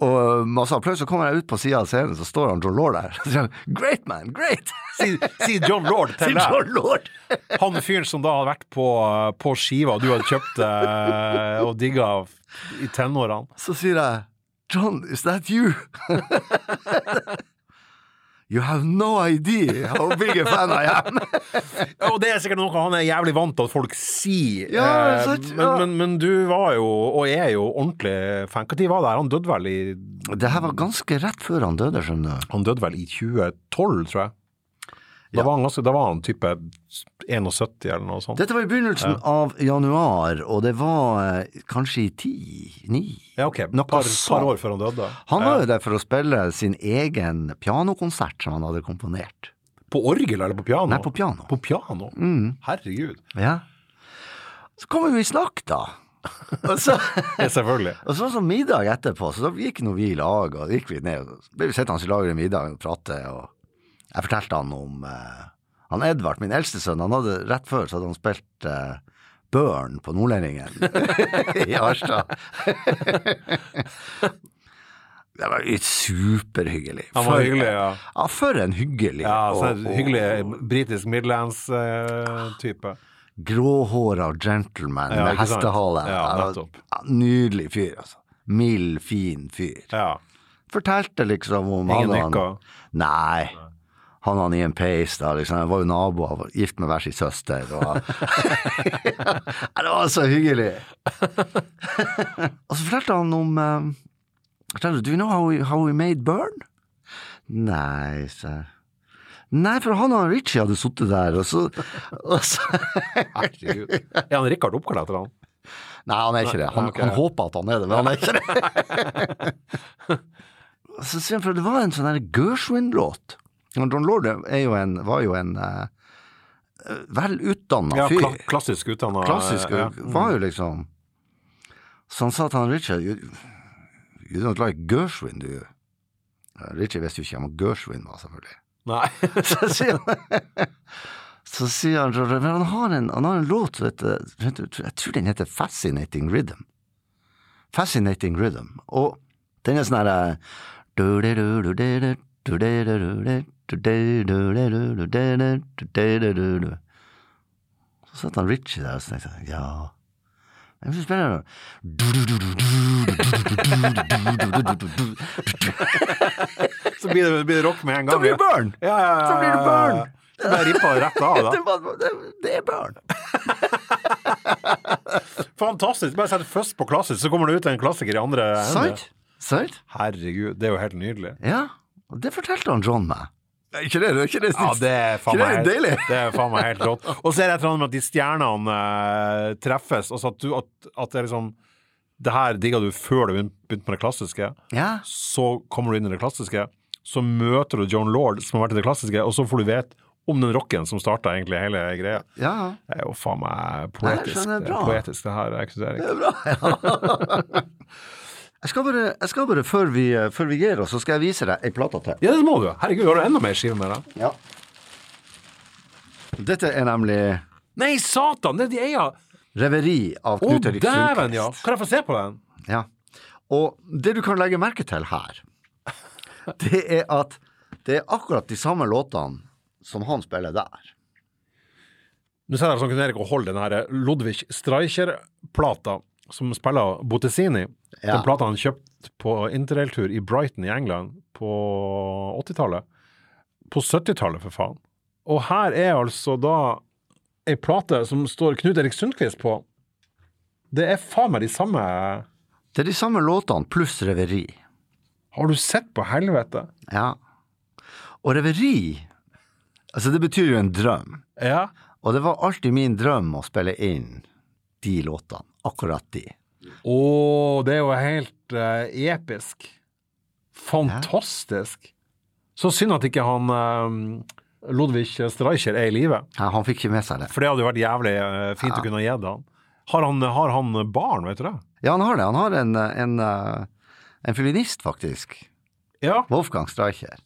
S2: Og masse applaus. Så kommer jeg ut på sida av scenen, så står han John Law der. Så sier han, great man, great!
S1: Si, si John Lord til
S2: Sier
S1: deg.
S2: John Lord.
S1: Han fyren som da hadde vært på, på skiva, og du hadde kjøpt eh, og digga i tenårene.
S2: Så sier jeg John, is that you? you have no idea how big a fan I am.
S1: Og det er sikkert noe han er jævlig vant til at folk sier,
S2: Ja,
S1: eh,
S2: sant,
S1: men,
S2: ja.
S1: men, men du var jo, og er jo, ordentlig fan. Når var det her? Han døde vel i
S2: det her var ganske rett før han døde, skjønner du.
S1: Han døde vel i 2012, tror jeg. Da,
S2: Ja.
S1: var han ganske, da var han type 71 eller noe sånt.
S2: Dette var i begynnelsen av januar, og det var eh, kanskje i ti-ni.
S1: ja, ok.
S2: Noe
S1: par,
S2: sånt.
S1: par år før han døde.
S2: Han var jo der for å spille sin egen pianokonsert som han hadde komponert.
S1: På orgel eller på piano?
S2: Nei, på Mm. piano.
S1: På piano? Herregud.
S2: Ja. Så kom vi jo i snakk, da. Og så...
S1: Ja, selvfølgelig.
S2: Og så var det sånn middag etterpå, så da gikk nå vi i lag, og gikk vi ned, og så ble vi sittende i lag i middagen og prate, og jeg fortalte han om eh, han Edvard, min eldste sønn, han hadde rett før så hadde han spilt eh, Børn på Nordlendingen i Arstad. det var jo superhyggelig.
S1: Han var
S2: For-
S1: hyggelig, ja.
S2: Ja, for en hyggelig
S1: Ja, sånn
S2: og- og-
S1: hyggelig britisk eh, midlands-type.
S2: Gråhåra gentleman
S1: Ja,
S2: med
S1: ikke sant?
S2: hestehale.
S1: Ja,
S2: Ja,
S1: nettopp.
S2: nydelig fyr, altså. Mild, fin fyr.
S1: ja.
S2: fortalte liksom om
S1: Ingen
S2: han og han.
S1: nikka.
S2: Nei. Han og han i en peis, da, liksom. Jeg var jo naboer, var gift med hver sin søster. Og... Nei, det var så hyggelig! og så fortalte han om um, fortalte, Do you know how we, how we made burn? Nei, sa jeg. Nei, for han og Richie hadde sittet der, og så, og så
S1: Herregud. Er han Rikard oppkalt etter han?
S2: Nei, han er ikke det. Han,
S1: ok.
S2: han håper at han er det, men han er ikke det. Så sier han, for det var en sånn her Gershwin-låt. Og John Lord er jo en, var jo en eh, vel utdanna
S1: Ja,
S2: fyr.
S1: kla klassisk utdanna.
S2: Klassisk.
S1: ja.
S2: Var jo liksom Så han sa til han Richard you, You don't like Gershwin, do you? Eh, Ritchie visste jo ikke hvem Gershwin var, selvfølgelig.
S1: Mm.
S3: Nei.
S2: Så sier han, så sier han George, Men han har en, han har en låt som heter Jeg tror den heter Fascinating Rhythm. Fascinating Rhythm. Og den er sånn her eh, du-du-du-du-du-du, du-du-du-du-du, du-du-du-du-du-du, du-du-du-du-du. Så satt han Ritchie der og så tenkte jeg, ja Jeg vil spille den.
S3: Så blir det, blir det rock med en gang.
S2: Da blir det
S3: ja.
S2: burn!
S3: Ja, ja, ja,
S2: Da blir det
S3: ja, ja.
S2: burn.
S3: Så blir det rippa rett av, da.
S2: Det var- det- Det er burn.
S1: Fantastisk! Bare sett først på klassisk, så kommer det ut en klassiker i andre enden.
S2: Sant? Sant?
S1: Herregud, det er jo helt nydelig.
S2: Ja, og det fortalte han John meg. Ikke det, ikke det,
S1: Ja, det er faen
S2: Ikke
S1: meg
S2: det
S1: helt,
S2: deilig?
S1: det er faen meg helt rått. Og så er det et eller annet med at de stjernene eh, treffes, og så at, du, at, at det er liksom Det her digga du før du begyn- begynte med det klassiske.
S2: Ja,
S1: Så kommer du inn i det klassiske, så møter du John Lord, som har vært i det klassiske, og så får du vite om den rocken som starta egentlig hele greia.
S2: ja.
S1: Det er jo faen meg
S2: Nei,
S1: poetisk,
S2: skjønner,
S1: det,
S2: bra.
S1: poetisk, det her. Jeg synes
S2: Det
S1: Erik.
S2: er bra. Ja. Jeg skal bare, jeg skal bare før, vi, eh, før vi gir oss, så skal jeg vise deg ei plate til.
S1: Ja, det må du. Herregud, har du enda mer skive med deg?
S2: Ja. Dette er nemlig
S1: Nei, satan! Det er de eier!
S2: Reveri av
S1: Å,
S2: Knut Erik
S1: dæven, ja!
S2: Sundquist.
S1: Kan jeg få se på den?
S2: Ja. Og det du kan legge merke til her, det er at det er akkurat de samme låtene som han spiller der.
S1: Nå sitter jeg som Knut-Erik og holder den her eh, Ludvig Streicher-plata som spiller Bottesini.
S2: Ja.
S1: Den plata han kjøpte på interrailtur i Brighton i England på 80-tallet. På 70-tallet, for faen. Og her er altså da ei plate som står Knut-Erik Sundquist på. Det er faen meg de samme Har
S2: Det er de samme låtene pluss Reveri.
S1: du sett på helvete?
S2: Ja. Og reveri, altså det betyr jo en drøm.
S1: Ja.
S2: Og det var alltid min drøm å spille inn de låtene, akkurat de.
S1: Å, det er jo helt eh, episk. Fantastisk. Så synd at ikke han eh, Ludvig Streicher er i live.
S2: Ja, han fikk ikke med seg det.
S1: For det hadde jo vært jævlig eh, fint å kunne ha gitt han. Har han. Har han barn, vet du det?
S2: Ja, han har det. Han har en, eh, en, eh, en fiolinist, faktisk.
S1: Ja.
S2: Wolfgang Streicher.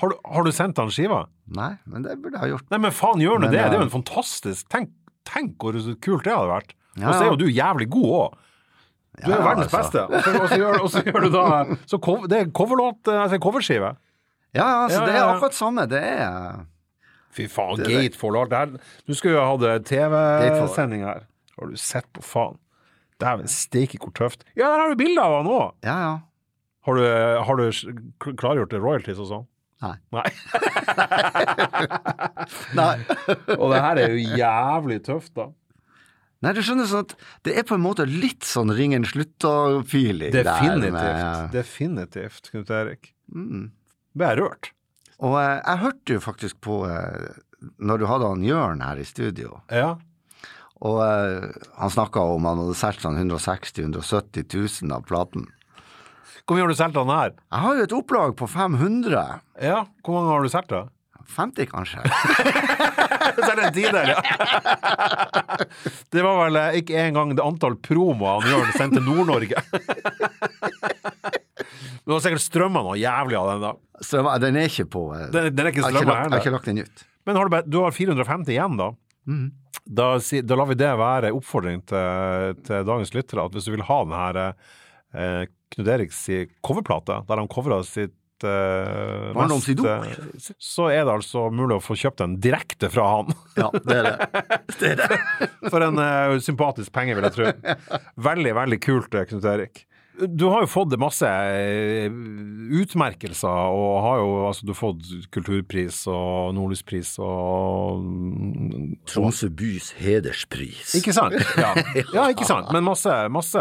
S1: Har du, har du sendt han skiva?
S2: Nei, men det burde jeg ha gjort.
S1: Nei, men faen, gjør nå
S2: Men,
S1: det! Det er jo
S2: eh,
S1: en fantastisk Tenk, tenk hvor kult det hadde vært.
S2: Ja,
S1: Og så er
S2: ja.
S1: jo du jævlig god òg. Du er jo
S2: Ja,
S1: verdens
S2: altså.
S1: beste. Og så- Og så gjør, og så gjør du da Så cov- det er coverlåt, eh, altså coverskive.
S2: Ja, altså,
S1: Ja,
S2: det er
S1: ja, ja.
S2: akkurat samme. Det er eh,
S1: Fy faen,
S2: er det.
S1: Gatefold alt det her. Du skulle jo ha hatt
S2: Gatefold.
S1: TV-sending her. Har du sett på faen? Dæven steike hvor tøft. Ja, der har du bilde av han òg!
S2: Ja, ja.
S1: Har, du- eh, har du kl- klargjort det royalties og sånn?
S2: Nei.
S1: Nei.
S2: Nei.
S1: og det her er jo jævlig tøft, da.
S2: Nei, du skjønner sånn at det er på en måte litt sånn ringen slutta-feeling. der
S1: Definitivt.
S2: med-
S1: Definitivt, Knut Erik.
S2: Mm.
S1: Ble jeg rørt?
S2: Og eh, jeg hørte jo faktisk på eh, Når du hadde han Jørn her i studio,
S1: Ja.
S2: og eh, han snakka om han hadde solgt sånn 160 170 000 av platen.
S1: Hvor mye har du solgt av den her?
S2: Jeg har jo et opplag på 500.
S1: Ja, hvor mange har du solgt av?
S2: 50, kanskje?
S1: Så er det en tidel, ja. Det var vel eh, ikke engang det antall promoer han gjør sendt til Nord-Norge. Men det var sikkert strømma noe jævlig av den, da.
S2: Så jeg var- den er ikke på eh,
S1: Den, den er Mm. ikke
S2: jeg, har ikke
S1: strømma
S2: lagt, jeg har
S1: her.
S2: ikke
S1: nei.
S2: lagt den ut.
S1: Men har du, bare- du har 450 igjen, da. Da, si- da lar vi det være en oppfordring til, til dagens lyttere at hvis du vil ha den her eh, Knut Eriks si coverplate, der han covra sitt eh,
S2: Barndom
S1: mest,
S2: sitt dop.
S1: eh, så er det altså mulig å få kjøpt den direkte fra han.
S2: Ja, det er det.
S1: For en eh, sympatisk penge, vil jeg tro. Veldig, veldig kult, eh, Knut Erik. Du har jo fått masse eh, utmerkelser, og har jo altså, du har fått kulturpris og nordlyspris og mm,
S2: Tromsø bys hederspris.
S1: Ikke sant? Ja, ja ikke sant. Men masse, masse,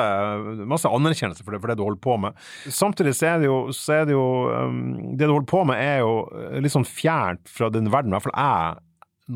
S1: masse anerkjennelse for det, for det du holder på med. Samtidig så er det jo, så er det, jo um, det du holder på med, er jo eh, litt sånn fjernt fra den verden i hvert fall jeg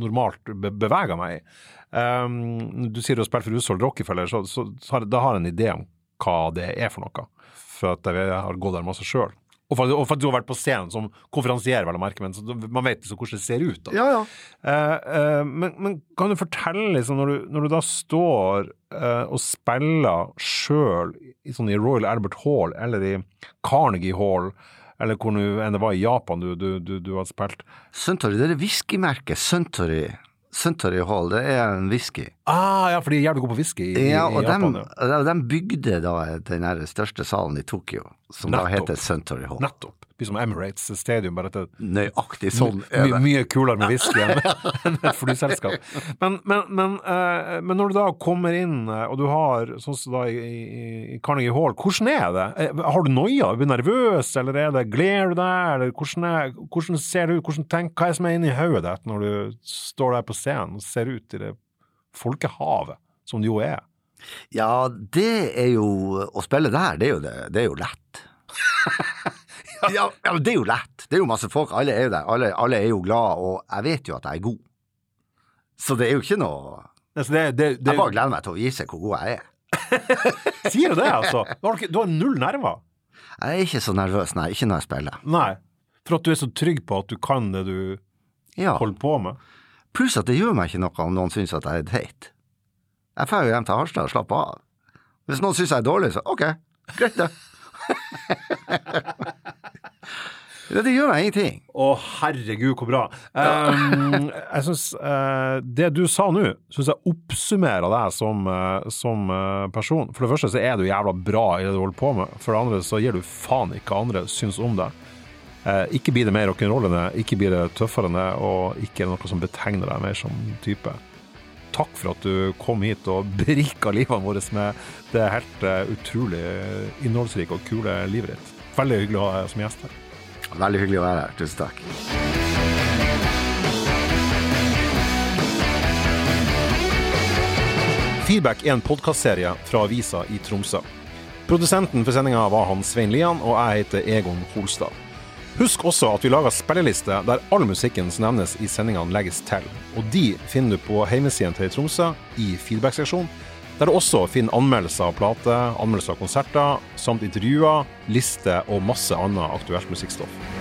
S1: normalt be beveger meg i. Um, du sier du har spilt for Hushold Rockefeller, så, så, så har, da har jeg en idé om hva det er for noe. For at jeg har gått der masse sjøl. Og for, og for at du har vært på scenen som konferansier, vel å merke, men så, man vet liksom hvordan det ser ut. Da.
S2: Ja, ja.
S1: Eh, eh, men, men kan du fortelle, liksom, når, du, når du da står eh, og spiller sjøl i, sånn, i Royal Albert Hall eller i Carnegie Hall, eller hvor nå enn det var i Japan du, du, du, du hadde spilt
S2: Suntory, det er det whiskymerket. Suntory. Suntory Hall, det er en whisky.
S1: Ah, ja, for de er jævlig gode på whisky i,
S2: Ja,
S1: i
S2: og
S1: Japan.
S2: dem,
S1: ja.
S2: og dem bygde da den her største salen i Tokyo, som da
S1: Nettopp.
S2: heter Suntory Hall.
S1: Nettopp. Det blir som Emirates Stadium, bare at det
S2: Nøyaktig sånn
S1: My,
S2: er det.
S1: mye kulere med whisky enn enn et flyselskap. Men, men, men, eh, men når du da kommer inn, eh, og du har sånn som da i, i- i Carnegie Hall, hvordan er det? Eh, Har du noia? Blir du nervøs, eller er det gleder du deg, eller hvordan, er, hvordan ser du ut, hvordan tenk, hva er det som er inni hodet ditt når du står der på scenen og ser ut i det folkehavet som det jo er?
S2: Ja, det er jo Å spille der, det er jo, det, det er jo lett. ja, ja, men det er jo lett. Det er jo masse folk. Alle er jo der. Alle, alle er jo glad, og jeg vet jo at jeg er god. Så det er jo ikke noe
S1: Altså, det, det, det,
S2: Jeg bare gleder meg til å vise hvor god jeg er.
S1: sier du det, altså? Du har, ikke- du har null nerver.
S2: Jeg er ikke så nervøs, nei. Ikke når jeg spiller.
S1: Nei. For at du er så trygg på at du kan det du
S2: Ja.
S1: holder på med.
S2: Pluss at det gjør meg ikke noe om noen syns at jeg er teit. Jeg drar jo hjem til Harstad og slapper av. Hvis noen syns jeg er dårlig, så ok, greit det. ja, det gjør meg ingenting.
S1: Å, herregud, hvor bra. Um, jeg synes, eh, Det du sa nå, syns jeg oppsummerer deg som, eh, som eh, person. For det første så er du jævla bra i det du holder på med. For det andre så gir du faen ikke hva andre syns om deg. Eh, ikke blir det mer rock'n'roll enn det, ikke blir det tøffere enn det, og ikke er det noe som betegner deg mer som type. Takk for at du kom hit og berika livet vårt med det helt eh, utrolig innholdsrike og kule livet ditt. Veldig hyggelig å ha deg som gjest her.
S2: Veldig hyggelig å være her. Tusen takk.
S1: Feedback er en podkastserie fra avisa i Tromsø. Produsenten for sendinga var han Svein Lian, og jeg heter Egon Holstad. Husk også at vi lager spilleliste der all musikken som nevnes i sendingene, legges til. Og de finner du på hjemmesiden til Tromsø i feedback-seksjonen, der du også finner anmeldelser av plater, anmeldelser av konserter, samt intervjuer, lister og masse annet aktuelt musikkstoff.